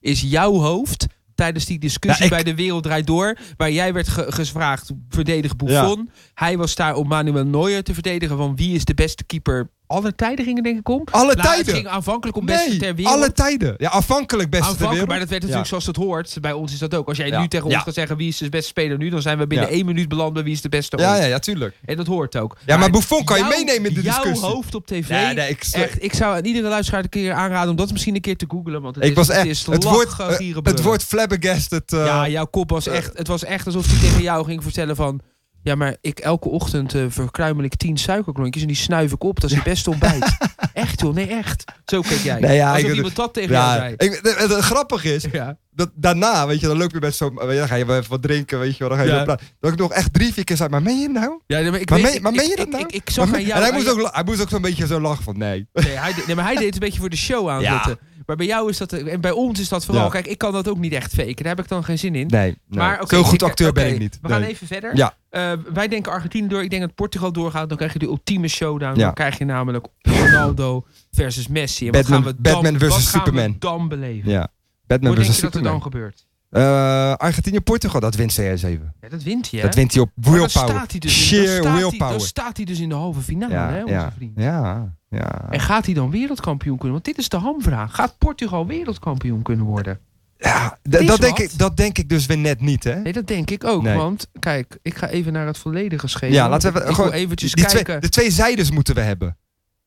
is jouw hoofd tijdens die discussie Ja, ik- bij de wereld draait door waar jij werd ge- gevraagd verdedig Buffon hij was daar om Manuel Neuer te verdedigen van wie is de beste keeper alle tijden gingen denk ik om Alle Nou, het tijden. ging aanvankelijk om beste ter Nee, wereld alle tijden. Ja, afhankelijk beste ter Aanvankelijk, wereld. maar dat werd natuurlijk zoals het hoort. Bij ons is dat ook. Als jij Ja. nu tegen ons Ja. gaat zeggen wie is de beste speler nu, dan zijn we binnen Ja. één minuut beland bij wie is de beste Ja, ooit. ja, ja, tuurlijk. En dat hoort ook. Ja, maar Buffon kan je jouw- meenemen in de discussie. Jouw hoofd op tv. Nee, nee, ik, Echt, ik zou aan iedere luisteraar een keer aanraden om dat misschien een keer te googlen. Want het ik is, was het, echt. is Het woord, lachen, eh, gieren, het brullen. woord flabbergasted. eh, ja, jouw kop was eh, echt... Het was echt alsof hij tegen jou ging vertellen van... Ja, maar ik elke ochtend eh, verkruimel ik tien suikerklontjes en die snuif ik op. Dat is het beste ontbijt. echt joh, nee echt. Zo keek jij. Nee, ja, Alsof ik- iemand dat tegen jou ja, zei. ik, het, het- het grappige is, Ja. dat daarna, weet je, dan loop je met zo'n... weet je, Dan ga je wel even wat drinken, weet je wel. Dan ga je Ja. zo praten. Dat ik nog echt drie, vier keer zei, maar meen je nou? Ja, maar ik Maar weet- meen- maar ik- meen je ik- dat ik- nou? Ik, ik zag Maar- aan jou... en hij aan moest, jou- ook, la- hij moest ook zo'n beetje zo lachen van, nee. Nee, hij, de- nee, maar hij deed het een beetje voor de show aanzetten. Maar bij jou is dat... En bij ons is dat vooral... Ja. Kijk, ik kan dat ook niet echt faken. Daar heb ik dan geen zin in. Nee, nee. Maar, oké, Zo'n goed ik- acteur ben oké, ik niet. We gaan Nee. even verder. Ja. Eh, wij denken Argentinië door. Ik denk dat Portugal doorgaat. Dan krijg je de ultieme showdown. Ja. Dan krijg je namelijk Ronaldo versus Messi. En wat Batman- gaan we dan, Batman versus wat gaan Superman. we dan beleven? Ja. Batman Hoe denk je versus dat er dan Superman. gebeurt? Eh, Argentinië-Portugal, dat wint CR7. Ja, dat wint hij, hè? Dat wint hij op Maar dan staat willpower. hij dus in- dan Sheer staat hij- Dan willpower. staat hij dus in de halve finale, Ja, hè, onze ja. vriend. Ja, ja. En gaat hij dan wereldkampioen kunnen? Want dit is de hamvraag. Gaat Portugal wereldkampioen kunnen worden? ja d- is dat, denk wat. ik, dat denk ik dus weer net niet, hè? Nee, dat denk ik ook. Nee. Want kijk, ik ga even naar het volledige schema. Ja, laten we Ik even- wil gewoon eventjes Die kijken. twee, de twee zijdes moeten we hebben.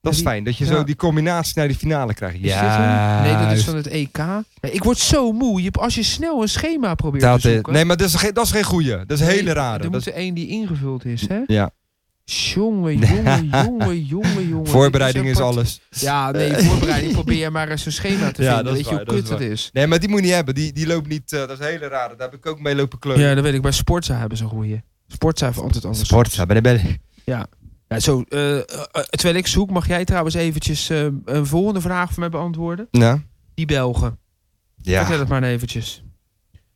Dat is Ja, die- fijn, dat je ja. zo die combinatie naar die finale krijgt. Is dit hem? Nee, dat is Juist. van het EK. Nee, ik word zo moe. Je, hebt- als je snel een schema probeert Dat te is- zoeken. nee, maar dat is, geen- dat is geen goeie. Dat is een Nee, hele Er rare. moet Dat is- er één die ingevuld is, hè? Ja. Jongen, jongen, jongen, jongen, jongen. voorbereiding Dit is apart. alles. Ja, nee, voorbereiding. Probeer jij maar eens een schema te Ja, vinden. dat is Weet je hoe waar, dat kut is het is? Nee, maar die moet je niet hebben. Die, die loopt niet. eh, dat is een hele rare. Daar heb ik ook mee lopen kleuren. Ja, dat weet ik. Bij Sportza hebben ze een goeie. Sportza heeft altijd anders. ben ik Ja, zo, eh, eh, eh, terwijl ik zoek, mag jij trouwens eventjes eh, een volgende vraag voor mij beantwoorden? Nou, Die Belgen. Vertel ja. het maar eventjes.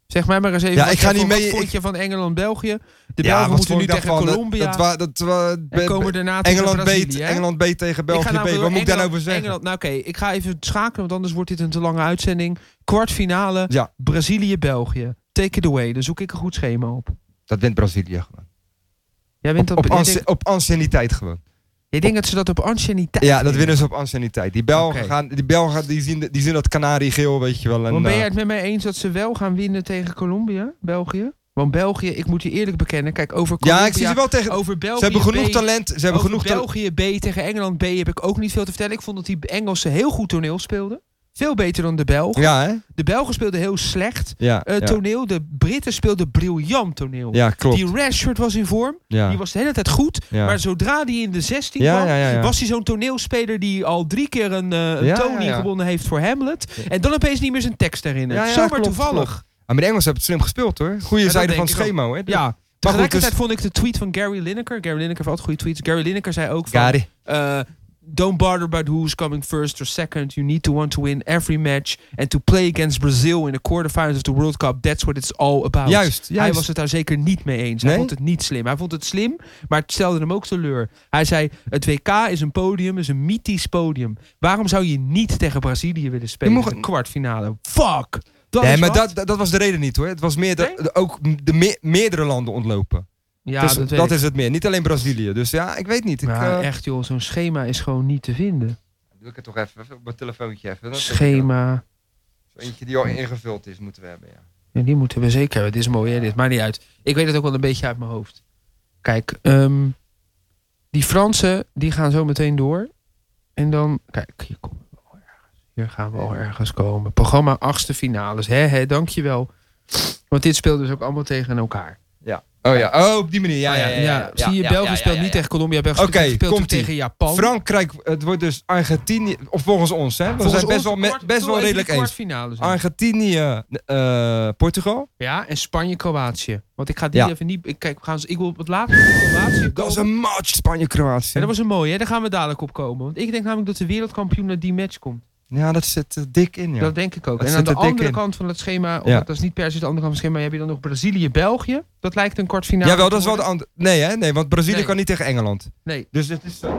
Zeg mij maar eens even. Ja, wat ik je ga niet vond- mee- Wat vond je van Engeland-België? De ja, Belgen wat moeten vond nu ik tegen daarvan? Dat- Colombia. Dat, wa- dat, wa- en be- komen be- daarna tegen Engeland B, Brazilië. hè? Engeland B tegen Ik België ga B. Wat namelijk moet ik Engeland- daarover zeggen? Engeland, nou oké, ik ga even schakelen, want anders wordt dit een te lange uitzending. Kwartfinale, Ja. Brazilië-België. Take it away, dan zoek ik een goed schema op. Dat wint Brazilië gewoon. Jij wint dat... Op, jij anci- denkt- op anciëniteit gewoon. jij denkt dat ze dat op anciëniteit Ja, dat winnen? winnen ze op anciëniteit. Die Belgen, Oké. gaan, die Belgen die zien, die zien dat kanariegeel, weet je wel. En, Want ben eh, jij het met mij eens dat ze wel gaan winnen tegen Colombia, België? Want België, ik moet je eerlijk bekennen, kijk, over Colombia... ja, ik zie ze wel tegen. Over België Ze hebben genoeg B, talent. Ze hebben over genoeg talent. België B tegen Engeland B heb ik ook niet veel te vertellen. Ik vond dat die Engelsen heel goed toneel speelden. Veel beter dan de Belgen. Ja, hè? De Belgen speelden heel slecht Ja, eh, ja. toneel. De Britten speelden briljant toneel. ja klopt. Die Rashford was in vorm. Ja. Die was de hele tijd goed. Ja. Maar zodra die in de 16 Ja, kwam, ja, ja, ja. was hij zo'n toneelspeler die al drie keer een, eh, een Ja, Tony ja, ja. gewonnen heeft voor Hamlet. Ja. En dan opeens niet meer zijn tekst herinnert. Ja, ja, Zomaar klopt, toevallig. Ah, maar de Engelsen hebben het slim gespeeld hoor. Goede dat zijde van denk het ik ook. schema hoor. Ja. dus- Tegelijkertijd vond ik de tweet van Gary Lineker. Gary Lineker heeft altijd goede tweets. Gary Lineker zei ook van... Gary. eh, don't bother about who's coming first or second. You need to want to win every match. And to play against Brazil in the quarterfinals of the World Cup. That's what it's all about. Juist, Hij juist. was het daar zeker niet mee eens. Hij Nee? vond het niet slim. Hij vond het slim, maar het stelde hem ook teleur. Hij zei, het WK is een podium, is een mythisch podium. Waarom zou je niet tegen Brazilië willen spelen? mocht- in de kwartfinale. Fuck! Dat nee, is maar wat. dat, dat, dat was de reden niet hoor. Het was meer dat Nee? de- ook de me- meerdere landen ontlopen. Ja, dus dat, dat, weet ik. is het meer. Niet alleen Brazilië. Dus ja, ik weet niet. Ik, Maar eh, echt joh, zo'n schema is gewoon niet te vinden. Doe ik het toch even, even op mijn telefoontje even. Dan Schema. Zo eentje die al ingevuld is, moeten we hebben. Ja. Ja, die moeten we zeker hebben. Dit is mooi, hè? Dit maakt niet uit. Ik weet het ook wel een beetje uit mijn hoofd. Kijk, ehm, die Fransen die gaan zo meteen door. En dan, kijk, hier komen we wel oh, ergens. Hier gaan we al ergens komen. Programma achtste finales. Hè, hè, dankjewel. Want dit speelt dus ook allemaal tegen elkaar. Oh ja, oh, op die manier. Ja, ja, ja. ja, zie je, ja, België ja, ja, speelt ja, niet ja. tegen Colombia. België Oké, speelt komt-ie. tegen Japan. Frankrijk, het wordt dus Argentinië, of volgens ons, hè? We Volgens zijn best ons wel, me- kwart- best doe wel even die redelijk eens. kwartfinales in. Argentinië, eh, Portugal. Ja, en Spanje-Kroatië. Want ik ga die Ja. even niet... ik- Kijk, we gaan, ik wil op het laatste Kroatië Dat was komen. een match, Spanje-Kroatië. Ja, dat was een mooie, hè? daar gaan we dadelijk op komen. Want ik denk namelijk dat de wereldkampioen naar die match komt. Ja, dat zit eh, dik in, ja. Dat denk ik ook. Dat en aan zit de er dik andere in. kant van het schema, of Ja. dat is niet per se de andere kant van het schema, heb je dan nog Brazilië-België. Dat lijkt een kwartfinale. Jawel, te dat is wel de worden. andere... Nee, hè? Nee, want Brazilië Nee. kan niet tegen Engeland. Nee. Dus het is... eh,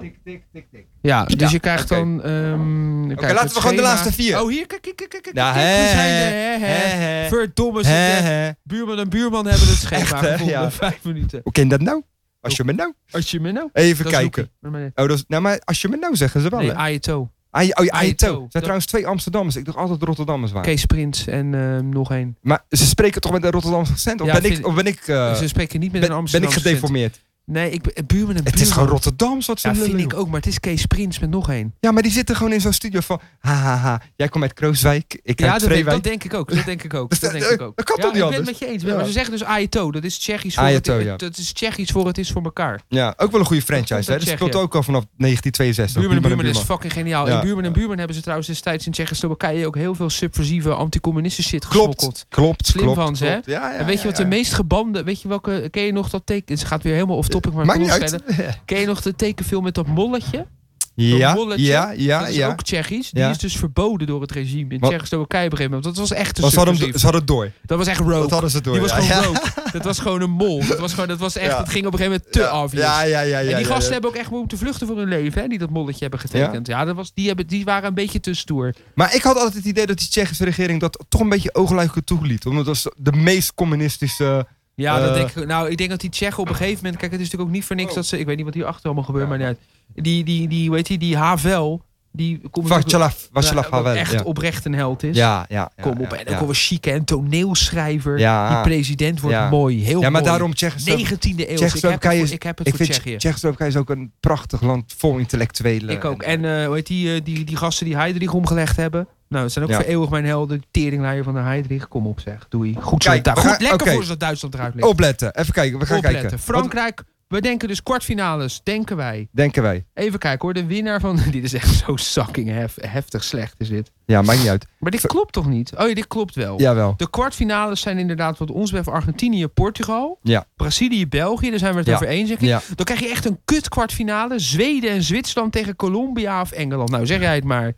tik, tik, tik, tik. Ja, dus Ja, je krijgt oké. dan. ehm Oké, laten we gewoon de laatste vier. Oh, hier, kijk, kijk, kijk, kijk. kijk, Ja, kijk, hè, hoe zijn de- hè, hè, hè. hè, hè. Verdomme, Hè, ze- hè. buurman en buurman hebben het schema Echt, hè, gevonden ja. in vijf minuten. Hoe ken je dat nou? Als je me nou... Als je me nou. Even dat is kijken. Loekie. Maar nee, Oh, dat is, nou, maar als je me nou zeggen ze wel, Nee, hè? Aito. Ai- oh, ja, Aito. Aito. Het zijn Dat- trouwens twee Amsterdammers. Ik dacht altijd dat Rotterdammers waren. Kees Prins en ehm, nog één. Maar ze spreken toch met een Rotterdamse accent? Of Ja, ben, ik, vind- of ben ik... eh, Ze Dus spreken niet met ben, een ben ik Amsterdamse accent. gedeformeerd? Nee, ik, ben- buurman en buurman. Het is gewoon Rotterdams wat ze Ja, vind lullen, ik joh. ook, maar het is Kees Prins met nog één. Ja, maar die zitten gewoon in zo'n studio van... Hahaha, jij komt uit Krooswijk, ik Ja, uit dat denk, Vreewijk. dat denk ik ook. Dat denk ik ook. Dus Dat dat- denk ik ook. dat kan ja, toch niet ik anders? ben het met je eens. Ja. Maar ze zeggen dus Aito. Dat is Tsjechisch voor, Aito, het, ja. dat is Tsjechisch voor het is voor elkaar. Ja, ook wel een komt goede franchise. Hè? uit Dat speelt Tsjechië. ook al vanaf 1962. Buurman en Buurman is Buurman. fucking geniaal. Ja. En Buurman en Buurman hebben ze trouwens destijds in Tsjechoslowakije ook heel veel subversieve anticommunistische shit Klopt, gesmokkeld. klopt, Slim klopt, van ze, hè? klopt. Ja, ja, en weet ja, je wat ja. de meest gebande... Weet je welke... Ken je nog dat teken... Ze gaat weer helemaal off-topic, maar ik Maakt wil niet nog uit. verder. Ken je nog de tekenfilm met dat molletje? Ja, bolletje, ja, ja, dat is ja. ook Tsjechisch. Die Ja. is dus verboden door het regime in Wat- Tsjechoslowakije op een gegeven moment. Dat was echt een Maar ze hadden, hem, subversief. ze hadden het door. Dat was echt rogue. Dat hadden ze door. Die was ja. gewoon ja. broke. Dat was gewoon een mol. Dat was gewoon, dat was echt, Ja. het ging op een gegeven moment te ja. obvious. Ja, ja, ja, ja. en die ja, gasten ja. hebben ook echt moeten vluchten voor hun leven, hè, die dat molletje hebben getekend. Ja, dat was, die, hebben, die waren een beetje te stoer. Maar ik had altijd het idee dat die Tsjechische regering dat toch een beetje oogluikend toeliet. Omdat dat is de meest communistische... Ja, Eh. dat denk ik, nou, ik denk dat die Tsjechen op een gegeven moment... Kijk, het is natuurlijk ook niet voor niks Oh. dat ze... Ik weet niet wat hier achter allemaal gebeurt, Ja. maar niet uit. Die, die, die, hoe heet die, die Havel, die komt natuurlijk- Václav Václav eh, Havel. echt ja. oprecht een held is. Ja, ja. ja, Kom op, ja, en ook ja. wel een chique en toneelschrijver. Ja. Die president wordt Ja. mooi, heel Ja, maar mooi. daarom Tsjechische... 19e eeuw. Ik heb het voor, Tsjechoslowakije is- ik heb het Ik voor vind Tsjechië. Tsjechoslowakije is ook een prachtig land vol intellectuelen. Ik ook. En eh, hoe heet die, eh, die, die gasten die Heidrich omgelegd hebben. Nou, het zijn ook Ja. voor eeuwig mijn helden. Teringleier van de Heidrich. Kom op zeg. Doei. Goed, zo Kijk, Du- we goed gaan- lekker oké. voor ze dat Duitsland eruit ligt. Opletten. Even kijken. We gaan Opletten. kijken. Wat Frankrijk. We denken dus kwartfinales, denken wij. denken wij? Even kijken hoor, de winnaar van... Dit is echt zo sucking hef- heftig slecht is dit. Ja, maakt niet uit. Maar dit Ver- klopt toch niet? Oh ja, dit klopt wel. Jawel. De kwartfinales zijn inderdaad wat ons betreft Argentinië, Portugal. Ja. Brazilië, België. Daar zijn we het Ja. over eens. denk ik. Ja. Dan krijg je echt een kut kwartfinale. Zweden en Zwitserland tegen Colombia of Engeland. Nou, zeg jij het maar.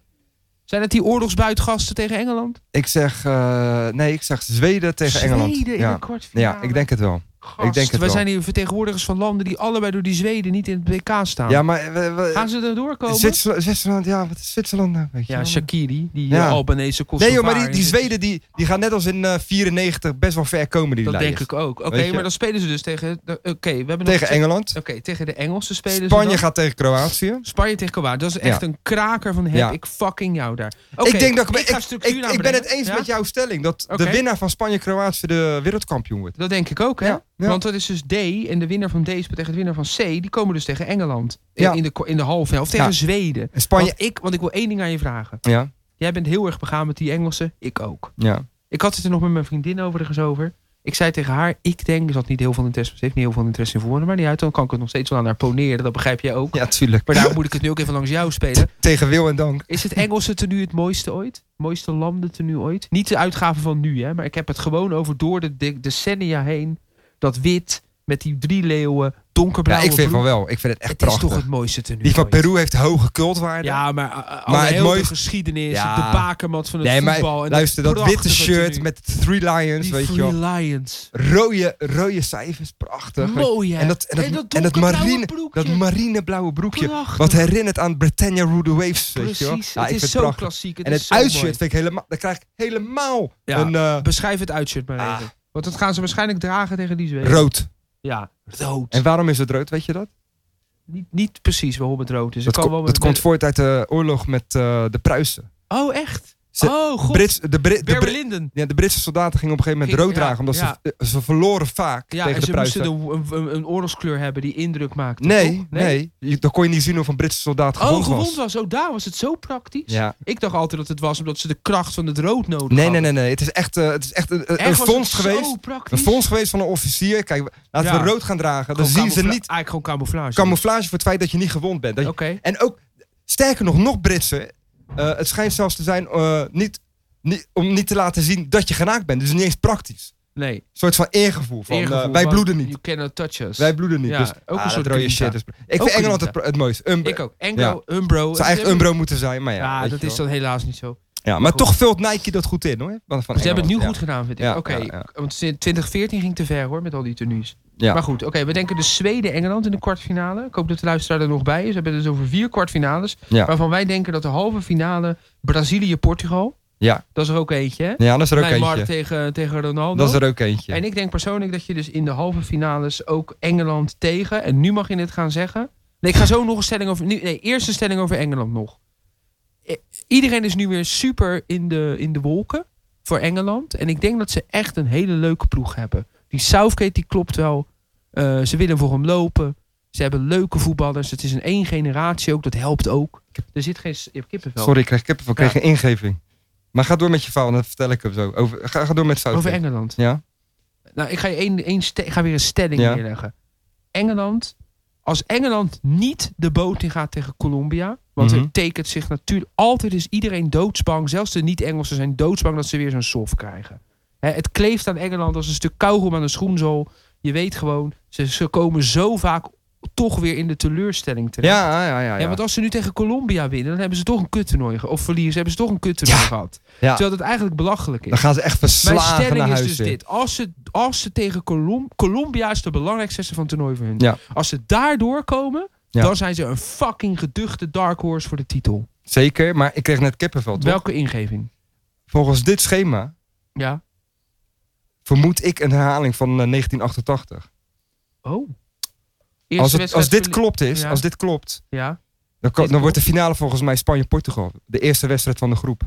Zijn het die oorlogsbuitgasten tegen Engeland? Ik zeg... eh, nee, ik zeg Zweden tegen Engeland. Zweden in ja. een kwartfinale. ja, ik denk het wel. Gast, ik denk het we wel. zijn hier vertegenwoordigers van landen die allebei door die Zweden niet in het WK staan. Ja, maar... we- we- Gaan ze er doorkomen? Zwitserland, Zwitserland, ja, wat is Zwitserland nou? Weet je Ja, wel? Shakiri, die Ja. eh, Albanese Nee Kosovaar. joh, maar die, die is- Zweden die, die gaan net als in eh, 94 best wel ver komen die Dat lijst. denk ik ook. Oké, Weet je. maar dan spelen ze dus tegen... de- Oké, we hebben Tegen nog... Engeland. Oké, tegen de Engelsen spelen ze Spanje dan. gaat tegen Kroatië. Spanje tegen Kowaar. Dat is echt een kraker van heb Ja. ik fucking jou daar. ik denk dat ik, ga ik, structuur ik- ik ben aanbrengen. het eens Ja? met jouw stelling dat de Oké. winnaar van Spanje-Kroatië de wereldkampioen wordt. Dat denk ik ook, hè? Ja, ja. Want dat is dus D. En de winnaar van D speelt tegen de winnaar van C. Die komen dus tegen Engeland. In, Ja. in, de, ko- in de halve helft. Tegen Ja. Zweden. En Spanje. Want ik, want ik wil één ding aan je vragen. Ja, Jij bent heel erg begaan met die Engelsen. Ik ook. ja. Ik had het er nog met mijn vriendin overigens over. Ik zei tegen haar, ik denk, ze had niet heel veel interesse, ze heeft niet heel veel interesse in voetbal, maar niet uit, dan kan ik het nog steeds wel aan haar poneren, dat begrijp jij ook. Ja, tuurlijk. Maar daarom moet ik het nu ook even langs jou spelen. Tegen wil en dank. Is het Engelse tenue het mooiste ooit? Mooiste landen tenue ooit? Niet de uitgave van nu, hè? Maar ik heb het gewoon over door de de- decennia heen. Dat wit met die drie leeuwen, Ja, donkerblauwe ik vind broek. van wel. Ik vind het echt Het is prachtig. toch het mooiste tenue die van ooit. Peru heeft hoge cultwaarde. Ja, maar, eh, eh, Maar alle het hele mooiste- geschiedenis, Ja. de bakermat van het nee, maar voetbal. en luister, dat witte prachtige shirt tenue. met de Three Lions, die weet je Free wel. Lions. Rode, rode cijfers, prachtig. Mooi, hè? En dat, en dat, en dat, donkerblauwe marine, broekje. dat marineblauwe broekje. Prachtig. Wat herinnert aan Britannia Rule the Waves, weet je wel. Precies, Ja, het ik vind is zo prachtig. klassiek. Het En is het zo uitshirt mooi. vind ik helemaal... Dan krijg ik helemaal Ja. een eh, Beschrijf het uitshirt maar Ah. even. Want dat gaan ze waarschijnlijk dragen tegen die Zweden. rood. Ja, rood. En waarom is het rood, weet je dat? Niet, niet precies waarom het rood is. Dat, Het kan ko- wel dat met- komt voort uit de oorlog met eh, de Pruisen. Oh, echt? Ze- oh, god. Brits, de, Brit, de, Brit- Linden. ja, de Britse soldaten gingen op een gegeven moment rood Ging- ja, dragen. Omdat ja. ze, eh, ze verloren vaak Ja, en tegen de ze moesten Pruisen. de- een, een, een oorlogskleur hebben die indruk maakte. Nee, toch? nee. Je- Dan kon je niet zien of een Britse soldaat Oh, gewond gewond was. was. Oh, daar was het zo praktisch. Ja. Ik dacht altijd dat het was omdat ze de kracht van het rood nodig Nee, nee, hadden. nee, nee. Het is echt, eh, het is echt een, een- een Echt was fonds het zo geweest. Een praktisch. fonds geweest van een officier. Kijk, laten Ja. we rood gaan dragen. Dan Gewoon zien ze camoufla- niet Eigenlijk gewoon camouflage. camouflage voor het feit dat je niet gewond bent. Dat Oké. je- En ook, sterker nog, nog Britsen. eh, het schijnt zelfs te zijn eh, niet, niet, om niet te laten zien dat je genaakt bent. Dus niet eens praktisch. Nee. Een soort van eergevoel. Van, eh, eergevoel wij van, bloeden niet. You cannot touch us. Wij bloeden niet. Ja, dus, ook een ah, dat soort rode grinta. shit is- Ik Ook vind Engeland grinta. het, pro- het mooiste. Um, ik ook. Englo, Umbro. het zou eigenlijk Umbro moeten zijn, maar ja. Ja, weet dat je is wel. dan helaas niet zo. ja maar toch vult Nike dat goed in hoor. Van Ze hebben Dus het nu Engeland, goed gedaan, vind ik. Ja, Oké, ja, ja. want sinds 2014 ging te ver hoor, met al die tenues. Ja. Maar goed, oké, we denken dus Zweden-Engeland in de kwartfinale. Ik hoop dat de luisteraar er nog bij is. We hebben het dus over vier kwartfinales. Ja. Waarvan wij denken dat de halve finale Brazilië-Portugal. Ja. Dat is er ook eentje, hè? Ja. ja, dat is er ook Neymar eentje. tegen, tegen Ronaldo. Dat is er ook eentje. En ik denk persoonlijk dat je dus in de halve finales ook Engeland tegen. En nu mag je het gaan zeggen. Nee, ik ga zo nog een stelling over. nu- Nee, eerste stelling over Engeland nog. I- Iedereen is nu weer super in de, in de wolken voor Engeland. En ik denk dat ze echt een hele leuke ploeg hebben. Die Southgate die klopt wel. Eh, ze willen voor hem lopen. Ze hebben leuke voetballers. Het is een één generatie ook. Dat helpt ook. Er zit geen... s- Je hebt kippenvel. Sorry, ik kreeg kippenvel. Ik Ja. kreeg een ingeving. Maar ga door met je verhaal, dan vertel ik hem zo. Over, ga, ga door met Southgate. Over Engeland. Ja? Nou, ik ga, je één, één ste- ik ga weer een stelling Ja. neerleggen. Engeland, als Engeland niet de boot in gaat tegen Colombia, want Mhm. het tekent zich natuurlijk altijd is iedereen doodsbang, zelfs de niet-Engelsen zijn doodsbang dat ze weer zo'n soft krijgen. Hè, het kleeft aan Engeland als een stuk kauwgom aan een schoenzool. Je weet gewoon, ze, ze komen zo vaak toch weer in de teleurstelling terecht. Ja, ja, ja. ja, Ja, want als ze nu tegen Colombia winnen, dan hebben ze toch een kuttoernooi ge- of verliezen, hebben ze toch een kuttoernooi gehad. Ja. Terwijl dat eigenlijk belachelijk is. Dan gaan ze echt Mijn verslagen naar stelling is huis. dus weer. dit. Als ze, als ze tegen Colom- Colombia is de belangrijkste sessie van het toernooi voor hun. Ja. Als ze daardoor komen, Ja. dan zijn ze een fucking geduchte dark horse voor de titel. Zeker, maar ik kreeg net kippenvel, toch? Welke ingeving? Volgens dit schema Ja. vermoed ik een herhaling van eh, 1988. Oh. Eerste Als, het, wedstrijd als dit verlie- klopt is, Ja. als dit klopt, Ja. dan, kan- Dit dan wordt de finale volgens mij Spanje-Portugal. De eerste wedstrijd van de groep.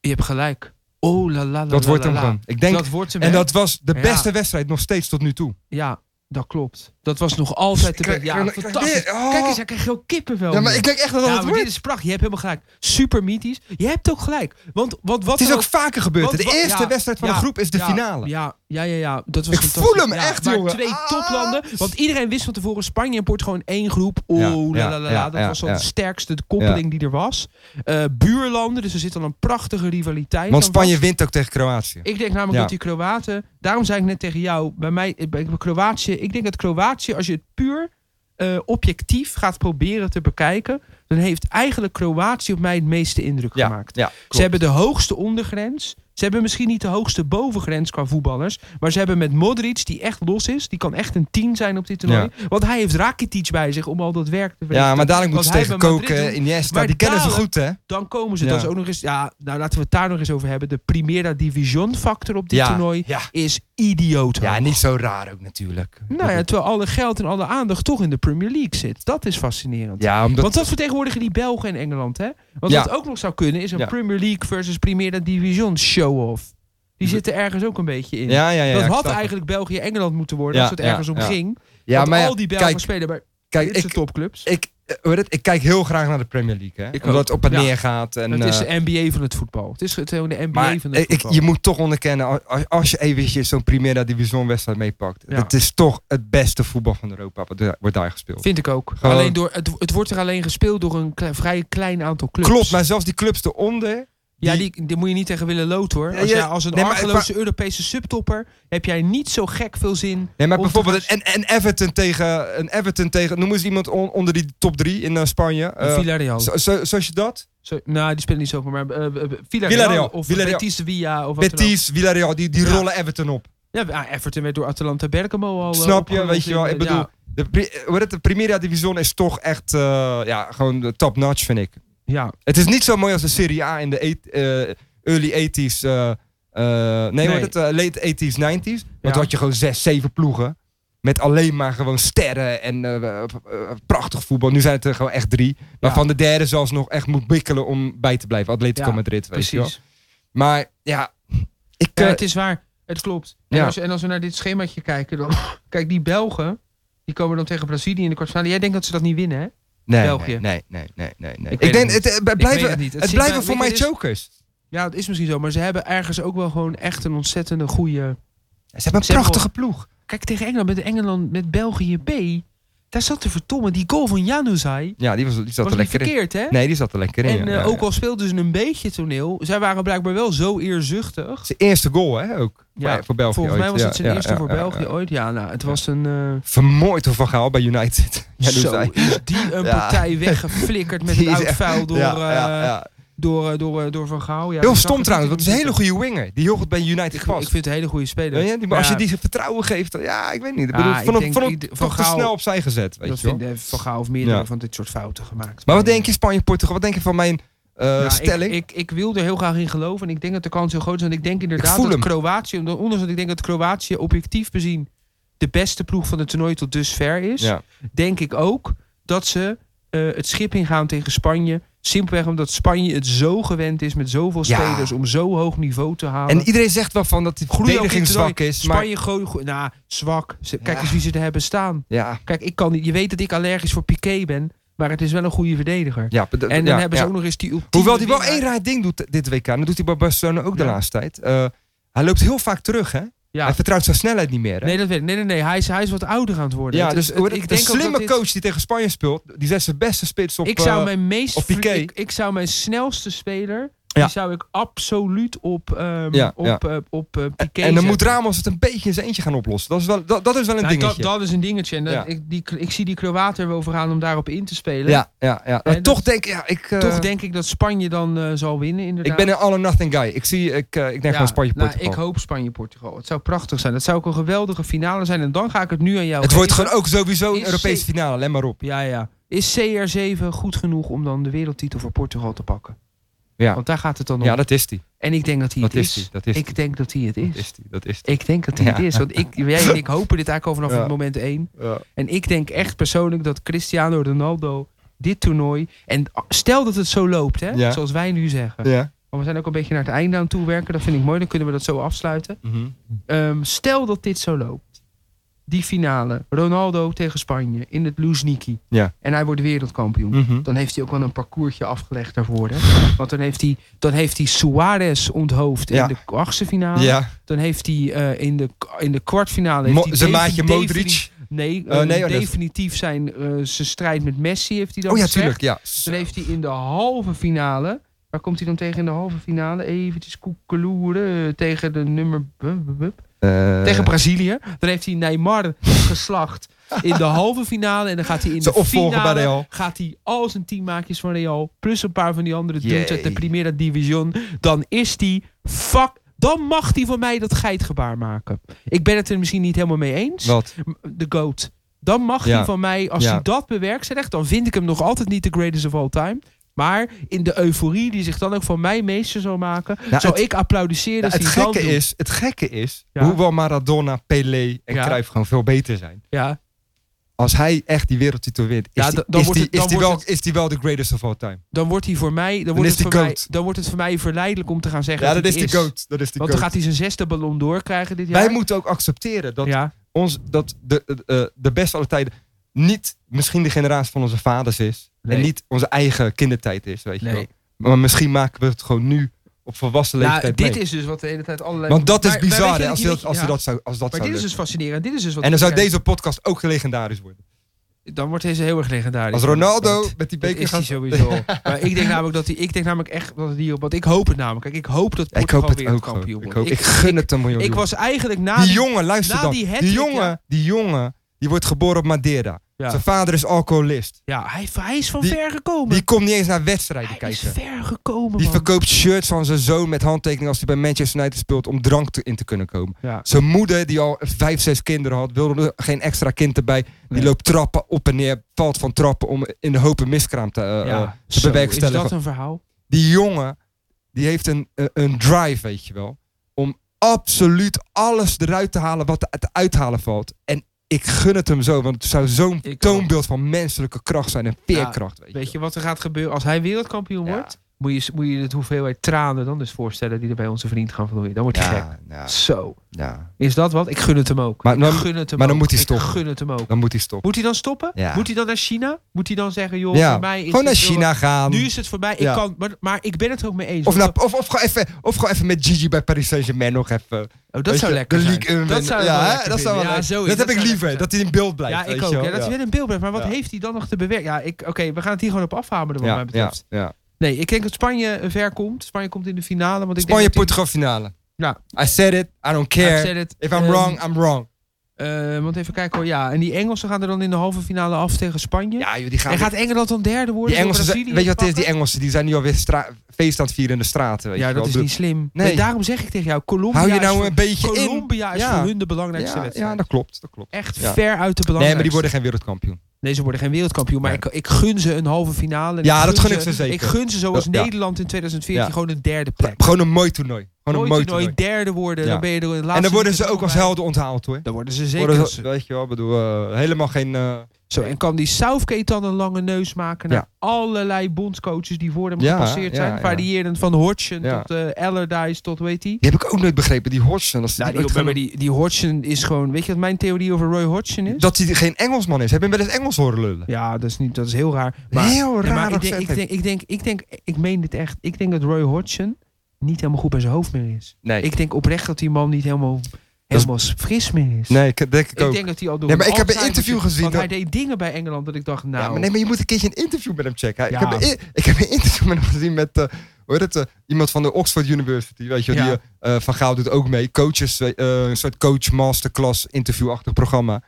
Je hebt gelijk. Oh la la la. Dat la, wordt la, hem la. gewoon. Ik denk, Dat wordt hem. en hè? dat was de Ja. beste wedstrijd nog steeds tot nu toe. Ja, dat klopt. Dat was nog altijd de Ik krijg- beste. Ja, ik krijg- fantastisch. dit- oh. Kijk eens, hij krijgt heel kippenvel. Ja, maar nu. ik denk echt dat dat Ja, het maar dit wordt. is prachtig. Je hebt helemaal gelijk. Super mythisch. Je hebt ook gelijk. Want, want wat Het is er ook vaker gebeurd. Want De wa- eerste ja, wedstrijd van de ja, groep is de ja, finale. Ja, ja, ja, ja. Dat was Ik fantastisch. voel hem Ja, echt, maar jongen. twee Ah. toplanden. Want iedereen wist van tevoren, Spanje en Portugal in één groep. Oh, Ja, la, ja, la, la, ja, la. Dat ja, was al ja. de sterkste koppeling die er was. Eh, buurlanden, dus er zit al een prachtige rivaliteit. Want Dan Spanje was- wint ook tegen Kroatië. Ik denk namelijk Ja. dat die Kroaten... Daarom zei ik net tegen jou, bij mij, eh, bij Kroatië... Ik denk dat Kroatië, als je het puur eh, objectief gaat proberen te bekijken... dan heeft eigenlijk Kroatië op mij het meeste indruk Ja, gemaakt. ja, Ze hebben de hoogste ondergrens. Ze hebben misschien niet de hoogste bovengrens qua voetballers. Maar ze hebben met Modric, die echt los is. Die kan echt een 10 zijn op dit toernooi. Want hij heeft Rakitic bij zich om al dat werk te verrichten. Ja, maar dadelijk Wat moeten ze hij tegen bij Madrid koken, doet. Iniesta, Maar die kennen ze dadelijk- goed hè. Dan komen ze. Ja. Dat is ook nog eens. Ja, nou laten we het daar nog eens over hebben. De Primera Division factor op dit ja, toernooi Ja. is idioot. hoog. ja, niet zo raar ook natuurlijk. Nou ja, terwijl alle geld en alle aandacht toch in de Premier League zit. Dat is fascinerend. ja omdat... Want dat vertegenwoordigen die Belgen en Engeland, hè? Want Ja. wat ook nog zou kunnen is een Ja. Premier League versus Primera Division show-off. Die zitten ergens ook een beetje in. ja, ja, ja, ik dat had snap het. eigenlijk België-Engeland moeten worden Ja, als het ja, ergens om ja. ging. Ja, want maar ja, al die Belgen kijk, spelen bij kijk dit soort ik, topclubs. ik, eh, hoe heet het? ik kijk heel graag naar de Premier League. Hè? Ik Omdat ook. het op en Ja. neer gaat. En, het is eh, de NBA van het voetbal. Het is gewoon de NBA maar eh, van ik- het voetbal. je moet toch onderkennen, als- als, als je eventjes zo'n Primera Division wedstrijd meepakt. Ja. Het is toch het beste voetbal van Europa, wat daar- wordt daar gespeeld. Vind ik ook. Gewoon- Alleen door, het, het wordt er alleen gespeeld door een kle- vrij klein aantal clubs. Klopt, maar zelfs die clubs eronder. Ja, die, die moet je niet tegen willen lood hoor. Ja, Als, ja, jij, als een nee, maar- argeloze Europese subtopper heb jij niet zo gek veel zin. Nee, maar om te bijvoorbeeld gaan- een, een Everton tegen, een Everton tegen, noem eens iemand on- onder die top drie in eh, Spanje. Eh, Villarreal. zo- zo- Zoals je dat? Zo, nou, die spelen niet zoveel, maar eh, eh, Villarreal, Villarreal, of Villarreal. Betis Sevilla of wat dan Betis, Villarreal, die, die Ja. rollen Everton op. ook. Ja, ah, Everton werd door Atalanta Bergamo al. eh, Snap je? opgerold Weet je in, wel, eh, ik bedoel, ja. de, pri- eh, hoe heet het, de Primera Division is toch echt eh, ja, gewoon de top-notch, vind ik. Ja. Het is niet zo mooi als de Serie A in de eight- eh, early 80s. eh, eh, nee, hoe Nee. heet het, eh, late 80s, 90s. Want Ja. dan had je gewoon zes, zeven ploegen. Met alleen maar gewoon sterren en eh, eh, prachtig voetbal. Nu zijn het er gewoon echt drie. Waarvan de derde zelfs nog echt moet bikkelen om bij te blijven. Atletico Ja, Madrid, weet je wel. Precies. Maar ja, ik... Ja, eh, het is waar. Het klopt. En, Ja. als, en als we naar dit schemaatje kijken, dan... Kijk, die Belgen, die komen dan tegen Brazilië in de kwartfinale. Jij denkt dat ze dat niet winnen, hè? nee, België. Nee, nee, nee, nee. Ik nee. Ik, weet denk, het het, eh, het weet blijven, het het niet. Het zit blijven bij- voor weet mij je, het is- chokers. Ja, dat is misschien zo. Maar ze hebben ergens ook wel gewoon echt een ontzettende goede... Ze hebben een Ze hebben prachtige ploeg. Kijk, tegen Engeland, met Engeland, met België B... Daar zat te verdomme die goal van Januzaj. Ja, die, was, die Was zat er niet lekker in. verkeerd, hè? Nee, die zat er lekker in. En ja, eh, ja, ook ja. al speelden ze een beetje toneel, zij waren blijkbaar wel zo eerzuchtig. Zijn eerste goal, hè, ook. Ja, Bij- voor België Volgens mij ooit. was Ja, het zijn ja, eerste ja, voor ja, België ja. ooit. Ja, nou, het was een... eh, Vermoord door Van Gaal bij United. Ja, doe zo zij. is die een Ja. partij weggeflikkerd met Die het is oud echt- vuil door, ja, eh, ja, ja. Door, eh, door, eh, door Van Gaal. Ja, Heel ik zag stom het trouwens, niet want het is een in hele de- goede winger. Die heel goed bij United Ik, ik past. vind het een hele goede speler. Ja, die- maar als je Ja, die vertrouwen geeft, dan- ja, ik weet niet. Ik Ja, bedoel, ik van denk- hem van hem ik- Van toch te Gaal- snel opzij gezet, weet Dat je wel. vindt eh, Van Gaal of meerdere Ja. van dit soort fouten gemaakt. Maar wat denk je Spanje, Portugal? Wat denk je van mijn eh, Nou, ik- stelling? Ik, ik, wil er heel graag in geloven. En ik denk dat de kans heel groot is. Want ik denk Ik inderdaad voel dat hem. Kroatië... omdat- Ondanks dat ik denk dat Kroatië objectief bezien... de beste ploeg van het toernooi tot dusver is... Ja. denk ik ook dat ze eh, het schip ingaan tegen Spanje. Simpelweg omdat Spanje het zo gewend is met zoveel Ja. spelers om zo hoog niveau te halen. En iedereen zegt wel van dat die Groei ook in verdediging toernooi. zwak is, maar Spanje gooit goed. Nou, zwak. Ze- Kijk Ja. eens wie ze er hebben staan. ja, Kijk, ik kan niet. Je weet dat ik allergisch voor Piqué ben, maar het is wel een goede verdediger. ja, en En dan hebben ze ook nog eens die ultieme Hoewel hij wel winnaar. één raar ding doet eh, dit WK. En dat doet hij bij Barcelona ook de Ja. laatste tijd. Eh, hij loopt heel vaak terug, hè? Ja. Hij vertrouwt zijn snelheid niet meer, hè? Nee, dat weet ik. Nee, nee, nee. Hij is, hij is wat ouder aan het worden. ja, Het- dus het- hoor, ik een denk ook slimme dat dit- coach die tegen Spanje speelt, die zet zijn beste spits op... ik zou eh, mijn meest op Piqué. vlie- Ik, ik zou mijn snelste speler Ja. die zou ik absoluut op ehm, Ja, op ja. eh, op eh, Piqué en dan zetten. moet Ramos het een beetje in zijn eentje gaan oplossen. Dat is wel, dat, dat is wel een Nou, dat, dingetje. dat is een dingetje. En dat- Ja. ik, die, ik zie die Kroaten er wel voor aan om daarop in te spelen. ja, ja, ja. Maar dat- toch denk ja, ik... eh, Toch denk ik dat Spanje dan eh, zal winnen, inderdaad. ik ben een all-nothing guy. Ik, zie, ik, eh, ik denk Ja, gewoon Spanje, nou, Portugal. ik hoop Spanje-Portugal. Het zou prachtig zijn. Dat zou ook een geweldige finale zijn. En dan ga ik het nu aan jou het wordt geven. gewoon ook sowieso een dus Is Europese ze- finale, let maar op. Ja, ja. Is CR7 goed genoeg om dan de wereldtitel voor Portugal te pakken? Ja. Want daar gaat het dan om. Ja, dat is die. en ik denk dat hij het Dat is is. die. Dat is die. ik denk dat hij het Dat is. is die. Dat is die. Ik denk dat hij Ja. het is. Want ik, jij en ik hopen dit eigenlijk al vanaf Ja. het moment één. Ja. En ik denk echt persoonlijk dat Cristiano Ronaldo dit toernooi... En stel dat het zo loopt, hè, Ja. zoals wij nu zeggen. Ja. Want we zijn ook een beetje naar het einde aan toe werken. Dat vind ik mooi. Dan kunnen we dat zo afsluiten. Ehm, stel dat dit zo loopt. Die finale. Ronaldo tegen Spanje. In het Luzhniki. Ja. En hij wordt wereldkampioen. Mhm. Dan heeft hij ook wel een parcoursje afgelegd daarvoor. Hè? Want dan heeft, hij, dan heeft hij Suarez onthoofd in Ja. de achtste finale. Ja. Dan heeft hij eh, in, de, in de kwartfinale... heeft Mo- hij zijn defi- maatje defini- Modric. Nee, Eh, eh, nee, oh, dat- definitief zijn, eh, zijn strijd met Messi heeft hij dan Oh ja, gezegd. tuurlijk. Ja. Dan heeft hij in de halve finale. Waar komt hij dan tegen in de halve finale? Eventjes koekeloeren eh, tegen de nummer. bup, bup, bup. Eh, Tegen Brazilië. Dan heeft hij Neymar geslacht in de halve finale. En dan gaat hij in Zijn de opvolger bij finale. Real. Gaat hij al zijn teammaatjes van Real. Plus een paar van die andere dudes uit de Jee. Primera Division. Dan is hij. Fuck. Dan mag hij van mij dat geitgebaar maken. Ik ben het er misschien niet helemaal mee eens Wat? de GOAT. Dan mag Ja. hij van mij, als Ja. hij dat bewerkstelligt, dan vind ik hem nog altijd niet de greatest of all time. Maar in de euforie die zich dan ook van mij meester zal maken, Nou, zal het- ik applaudisseren. Ja, als het, hij dan gekke doet. is, het gekke is, Ja. hoewel Maradona, Pelé en Ja. Cruijff gewoon veel beter zijn. Ja, Als hij echt die wereldtitel wint, is Ja, die- da- dan is wordt die- het- is dan die wordt wel- is die wel de greatest of all time. dan wordt hij voor mij, dan, Dan wordt is het voor hij mij, GOAT. dan wordt het voor mij verleidelijk om te gaan zeggen. Ja, dat, dat is hij de goat. Dat is de Want dan goat. gaat hij zijn zesde ballon door krijgen dit jaar. Wij moeten ook accepteren dat, ja, ons, dat de, eh, eh, de beste alle tijden niet misschien de generatie van onze vaders is. Nee. En niet onze eigen kindertijd is, weet je nee. wel. Maar misschien maken we het gewoon nu op volwassen Ja, leeftijd dit mee. is dus wat de hele tijd allerlei. Want dat is Maar- maar weet bizar, je hè, dat als, je- dat, als, ja. we dat zou, als dat Maar zou dit is dus lukken. fascinerend. Dit is dus wat En dan zou kijk, deze podcast ook legendarisch worden. Dan wordt deze heel erg legendarisch. Als Ronaldo met die Dat beker is hij gaat... sowieso. maar ik denk namelijk dat hij, ik denk namelijk echt dat het hierop, want ik hoop het namelijk. Kijk, ik hoop dat Ja, ik Portugal hoop het weer ook. kampioen hoor. Ik, wordt. hoop, ik gun het een miljoen. ik jongen. was eigenlijk na die die- jongen, luister na dan. die Die, hattrick, jongen, ja. die jongen, die wordt geboren op Madeira. Ja. Zijn vader is alcoholist. ja, hij, hij is van Die- ver gekomen. Die komt niet eens naar wedstrijden hij is kijken. ver gekomen. Die man. verkoopt shirts van zijn zoon met handtekening als hij bij Manchester United speelt om drank te- in te kunnen komen. ja. Zijn moeder, die al vijf, zes kinderen had, wilde er geen extra kind erbij. Die Nee. loopt trappen op en neer, valt van trappen om in de hoop een miskraam te, eh, eh, ja. te Zo, is bewerkstelligen. dat een verhaal? die jongen, die heeft een, een- een drive, weet je wel. Om absoluut alles eruit te halen wat er te uithalen valt. En Ik gun het hem zo, want het zou zo'n Ik toonbeeld van menselijke kracht zijn en veerkracht. weet je. Weet je wat er gaat gebeuren als hij wereldkampioen Ja. wordt? Moet je, moet je het hoeveelheid tranen dan dus voorstellen die er bij onze vriend gaan vloeien. Dan wordt hij gek. Ja, ja, Zo. ja. Is dat wat? Ik gun het hem ook. Maar ik dan- gun het hem maar dan ook. moet hij Ik stoppen. gun het hem ook. Dan moet hij stoppen. Moet hij dan stoppen? Ja. Moet hij dan naar China? Moet hij dan zeggen, joh, Ja. voor mij is Gewoon naar het heel- China gaan. Nu is het voorbij. Ik Ja. kan, maar, maar ik ben het er ook mee eens. Oh, Of, Want naar, of, of, gewoon even, of gewoon even met Gigi bij Paris Saint-Germain nog even. dat- oh, Weet dat zou je, lekker de zijn. league in Dat winnen. zou ik ja, wel hè, lekker dat zou wel vinden. leuk. Ja, zoiets. Dat heb zou ik lekker liever, zijn. dat hij in beeld blijft. Ja, weet ik ook. je wel. Ja, dat hij weer in beeld blijft. Maar wat Ja. heeft hij dan nog te bewerken? Ja, ik- oké, we gaan het hier gewoon op afhameren wat Ja, mij betreft. ja, ja. Nee, ik denk dat Spanje eh, ver komt. Spanje komt in de finale. Want ik Spanje, denk dat Portugal finale. Ja. I said it, I don't die- care. I've said it. If I'm Ehm, wrong, I'm wrong. eh, want even kijken hoor. Ja, en die Engelsen gaan er dan in de halve finale af tegen Spanje. Ja, joh, die gaan. en gaat Engeland dan derde worden? die Engelsen, Door zijn- Brazilië weet je wat het is? pakken? Die Engelsen die zijn nu alweer stra- feest aan het vieren in de straten. Weet Ja, je wel. dat is Dus niet slim. Nee. Nee, daarom zeg ik tegen jou, Colombia Hou je is nou voor- een beetje in. Colombia is Ja. voor hun de belangrijkste Ja, wedstrijd. ja, dat klopt. Dat klopt. Echt ver Ja. uit de Nee, belangrijkste. maar die worden geen wereldkampioen. Nee, ze worden geen wereldkampioen. Maar Nee. ik, ik gun ze een halve finale. en Ja, dat gun ze- ik ze zeker. Ik gun ze zoals Ja. Nederland in 2014 Ja. gewoon een derde plek. Gewoon een mooi toernooi. Gewoon Nooit een mooi die nooit toernooi. derde worden. Ja. Dan ben je er in de laatste En dan worden ze minuut ook als bij. helden onthaald hoor. Dan worden ze Worden zeker. ze- als- weet je wel, ik bedoel, eh, helemaal geen... eh, Zo, en kan die Southgate dan een lange neus maken naar Ja. allerlei bondscoaches die voor hem Ja, gepasseerd ja, zijn? ja. Variërend van Hodgson Ja. tot eh Allardyce tot weet hij. Die heb ik ook nooit begrepen, die Hodgson. Dat ze Nou, die die, ooit gaan- maar die, die Hodgson is gewoon. Weet je wat mijn theorie over Roy Hodgson is? Dat hij geen Engelsman is. Heb je hem wel eens Engels horen lullen? ja, dat is, niet, dat is heel raar. Maar, Heel Ja, raar maar ik, denk, accent ik, heeft- denk, ik, denk, ik denk, ik meen dit echt. Ik denk dat Roy Hodgson niet helemaal goed bij zijn hoofd meer is. Nee, Ik denk oprecht dat die man niet helemaal, helemaal fris meer is. nee ik, denk ik, ik ook. denk dat hij al door. Nee, maar ik heb een Alzheimer's interview zit. gezien Want dat- hij deed dingen bij Engeland dat ik dacht, nou. Ja, maar nee, maar je moet een keertje een interview met hem checken. Hij- Ja. Ik, heb een, i- ik heb een interview met hem gezien met eh, hoe heet het, eh, iemand van de Oxford University. Weet je, wel, Ja. die, eh, eh, Van Gaal doet ook mee. Coaches, eh, eh, een soort coach masterclass interviewachtig programma.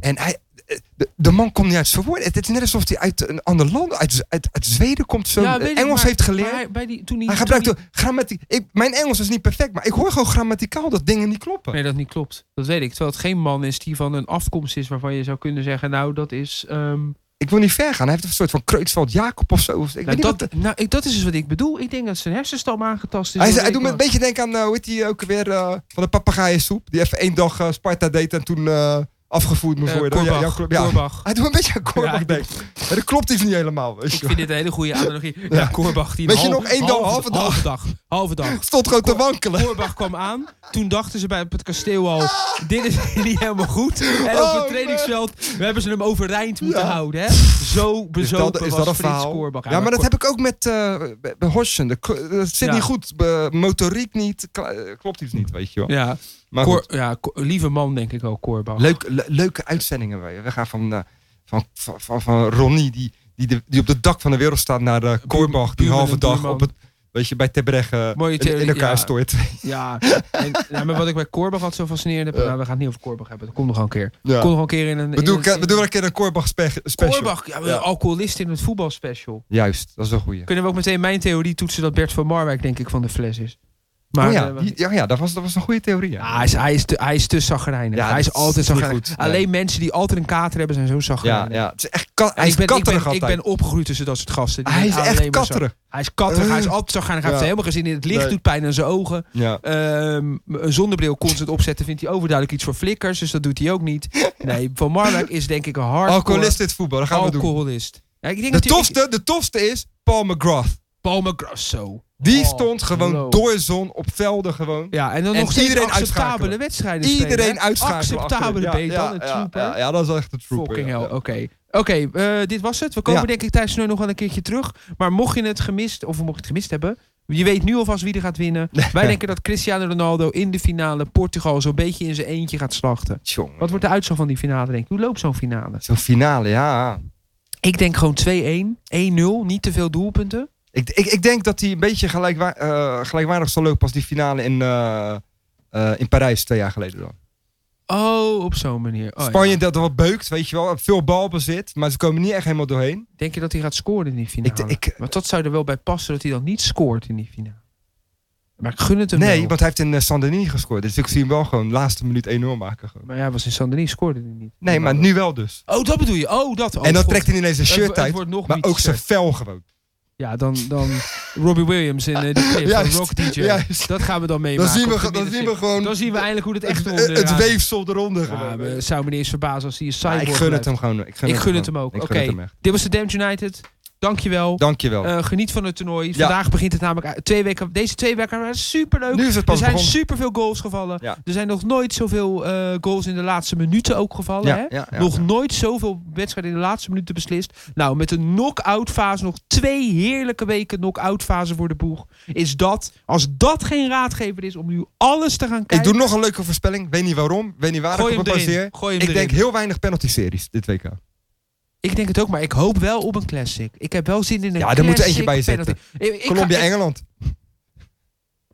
En hij, eh, de, de man komt niet uit zijn woorden. Het, het is net alsof hij uit een ander land, uit, uit, uit Zweden komt. Zo, Ja, weet ik, Engels maar- heeft geleerd. maar hij- bij die, toen Hij toen gebruikt ook grammatiek. Ik, mijn Engels is niet perfect, maar ik hoor gewoon grammaticaal dat dingen niet kloppen. Nee, dat niet klopt. Dat weet ik. Terwijl het geen man is die van een afkomst is waarvan je zou kunnen zeggen, nou, dat is. ehm, Ik wil niet ver gaan. Hij heeft een soort van Kreutzwald Jacob of zo. Ik weet nou, niet dat, wat de- nou, ik, dat is dus wat ik bedoel. Ik denk dat zijn hersenstam aangetast is. hij, door zei- hij doet me een Nederland. beetje denken aan, eh, hoe heet die ook weer, eh, van de papegaaiensoep. Die even één dag eh, Sparta deed en toen eh, afgevoerd moest Eh, worden. Ja, Korbach, ja, klopt. Ja. Korbach. Hij doet me een beetje aan Korbach Ja, ik- denken. Maar dat klopt iets niet helemaal. Weet Ik je. vind dit een hele goede analogie. Ja, Ja. Korbach die Weet je een nog, één dag, halve dag. Halve dag. Halve dag. Stond gewoon te Kor- wankelen. Korbach kwam aan. Toen dachten ze bij op het kasteel al, dit is niet helemaal goed. En op Oh, het trainingsveld, we hebben ze hem overeind moeten Ja. houden. Hè? Zo Dus bezopen was Frits Korbach. Ja, maar dat Kor- heb ik ook met eh bij- bij Horsen. Dat kl- dat zit Ja. niet goed. Be- motoriek niet. Kla- eh, klopt iets niet, weet je wel. Ja, Maar Cor- goed. ja ko- lieve man denk ik ook, Korbach. Leuk, le- leuke uitzendingen. wij. We gaan van, eh, van, van, van, van Ronnie, die, die, de- die op het dak van de wereld staat, naar eh Korbach, die buurman halve en dag buurman. op het, weet je, bij Tebrege Mooie in, in theorie, elkaar ja. stort. Ja, en, nou, maar wat ik bij Korbach had zo fascinerend... heb- Ja. nou, we gaan het niet over Korbach hebben, dat komt nog wel een keer. Komt Ja. nog wel een keer in een... We doen, in een, we doen een keer een Korbach spe- special. Korbach, ja, Ja. een alcoholist in het voetbalspecial. Juist, dat is een goeie. Kunnen we ook meteen mijn theorie toetsen dat Bert van Marwijk denk ik van de fles is. Maar oh ja, eh, die- ja, ja dat, was, dat was een goede theorie. Ja. Ja, hij is, hij is te, hij is te zagrijnig. Ja, hij is dat is altijd niet zagrijnig. goed, nee. Alleen mensen die altijd een kater hebben zijn zo ja, zagrijnig. ja, het is echt ka- En hij is ik, ben, ik, katterig ben, ik altijd. Ah, ben opgegroeid tussen dat soort gasten. Die hij is zijn alleen echt maar zo- katterig. Eh, Hij is katterig, hij is altijd zagrijnig. Hij heeft Ja. helemaal gezien in het licht, Nee. doet pijn aan zijn ogen. Ja. Ehm, een zonnebril constant opzetten vindt hij overduidelijk iets voor flikkers. Dus dat doet hij ook niet. Nee, Van Marwijk is denk ik een hardcore Alcoholist dit voetbal, dat gaan we doen. alcoholist. Ja, ik denk De dat hij- tofste, de tofste is Paul McGrath. Paul McGrasso. Die Oh, stond gewoon hallo. door zon op velden gewoon. Ja, en dan En nog steeds iedereen acceptabele uitschakelen. wedstrijden spelen, Iedereen hè? uitschakelen. Acceptabele achterin. ben je dan, een trooper. Ja, ja, dat is echt een trooper. Fucking ja. hell, oké. Oké, eh, dit was het. We komen Ja. denk ik tijdens nu nog wel een keertje terug. Maar mocht je het gemist, of mocht je het gemist hebben... Je weet nu alvast wie er gaat winnen. Wij denken dat Cristiano Ronaldo in de finale Portugal zo'n beetje in zijn eentje gaat slachten. Tjonge. Wat wordt de uitslag van die finale, denk ik? Hoe loopt zo'n finale? Zo'n finale, ja. Ik denk gewoon 2-1, 1-0, niet te veel doelpunten. Ik, ik, ik denk dat hij een beetje gelijkwa- eh, gelijkwaardig zal lopen als die finale in, eh, eh, in Parijs twee jaar geleden. Dan. Oh, op zo'n manier. Oh, Spanje ja. dat er wat beukt, weet je wel. Veel balbezit, maar ze komen niet echt helemaal doorheen. Denk je dat hij gaat scoren in die Ik, finale? ik, Want dat zou er wel bij passen dat hij dan niet scoort in die finale. Maar ik gun het hem nee, wel. want hij heeft in eh, Saint-Denis gescoord. Dus ik zie hem wel gewoon de laatste minuut 1-0 maken. Gewoon. Maar ja, was in Saint-Denis scoorde hij niet. Nee, maar nu wel dus. Oh, dat bedoel je. Oh, dat. Oh, en dan God. trekt hij ineens zijn Het wo- shirt het uit, wordt nog maar niet ook zijn shirt. vel gewoon. Ja, dan, dan Robbie Williams in eh, die clip van Juist, Rock DJ. juist. Dat gaan we dan Dan meemaken. zien we, op de ge- dan zien we middenstip. gewoon dan zien we eindelijk hoe het echt het, onder het weefsel eronder. ja, we- zou me niet eens verbazen als hij een Ja, cyborg ik gun het blijft. hem gewoon. Ik gun, Ik het, gun gewoon. het hem ook. Ik gun Oké. het hem echt. Dit was de Damned United. Dankjewel. Dankjewel. Eh, geniet van het toernooi. Vandaag begint het namelijk uit- twee weken. Deze twee weken waren superleuk. nu is het Er pas zijn begonnen. superveel goals gevallen. Ja. Er zijn nog nooit zoveel eh, goals in de laatste minuten ook gevallen. hè? ja, ja. nog nooit zoveel wedstrijden in de laatste minuten beslist. Nou, met een knock-out fase, nog twee heerlijke weken knock-out fase voor de boeg. Is dat, als dat geen raadgever is om nu alles te gaan Ik kijken. doe nog een leuke voorspelling. Weet niet waarom. Weet niet waar gooi ik hem op me baseer. erin. Gooi hem Ik erin. denk heel weinig penalty-series dit WK. ik denk het ook, maar ik hoop wel op een classic. Ik heb wel zin in een Ja, classic. er moet er eentje bij penalty. zitten. Ik- ik ga echt- Colombia-Engeland.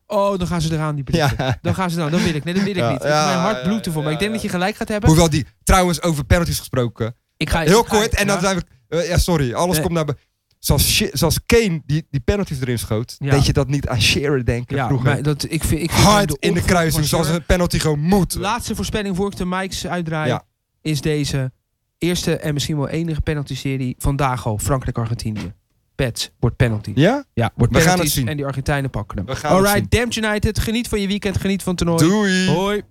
Oh, dan gaan ze eraan, die Ja. Britten. Dan gaan ze eraan. Dan wil ik. Nee, dat wil ik Ja, niet. Ik- ja, Mijn ja, hart bloedt ervoor. ja, Maar ik denk ja. dat je gelijk gaat hebben. Hoewel die, trouwens, over penalties gesproken. Ik ga, Heel ik ga- kort, en dan ja. zijn we... eh, ja, sorry. Alles Nee. komt naar... be- Zoals, Shi- zoals Kane die, die penalties erin schoot, Ja. deed je dat niet aan Shearer denken Ja, vroeger. maar dat, ik vind, ik vind Hard in de opvolger kruising, van zoals een penalty gewoon moet. Laatste voorspelling voor ik de mics uitdraai Ja. is deze eerste en misschien wel enige penalty-serie vandaag al. Frankrijk-Argentinië. Pets wordt penalty. Ja, Ja? wordt We gaan penalty. het zien. En die Argentijnen pakken hem. We gaan het Alright, Damned United. Geniet van je weekend. Geniet van het toernooi. Doei! Hoi.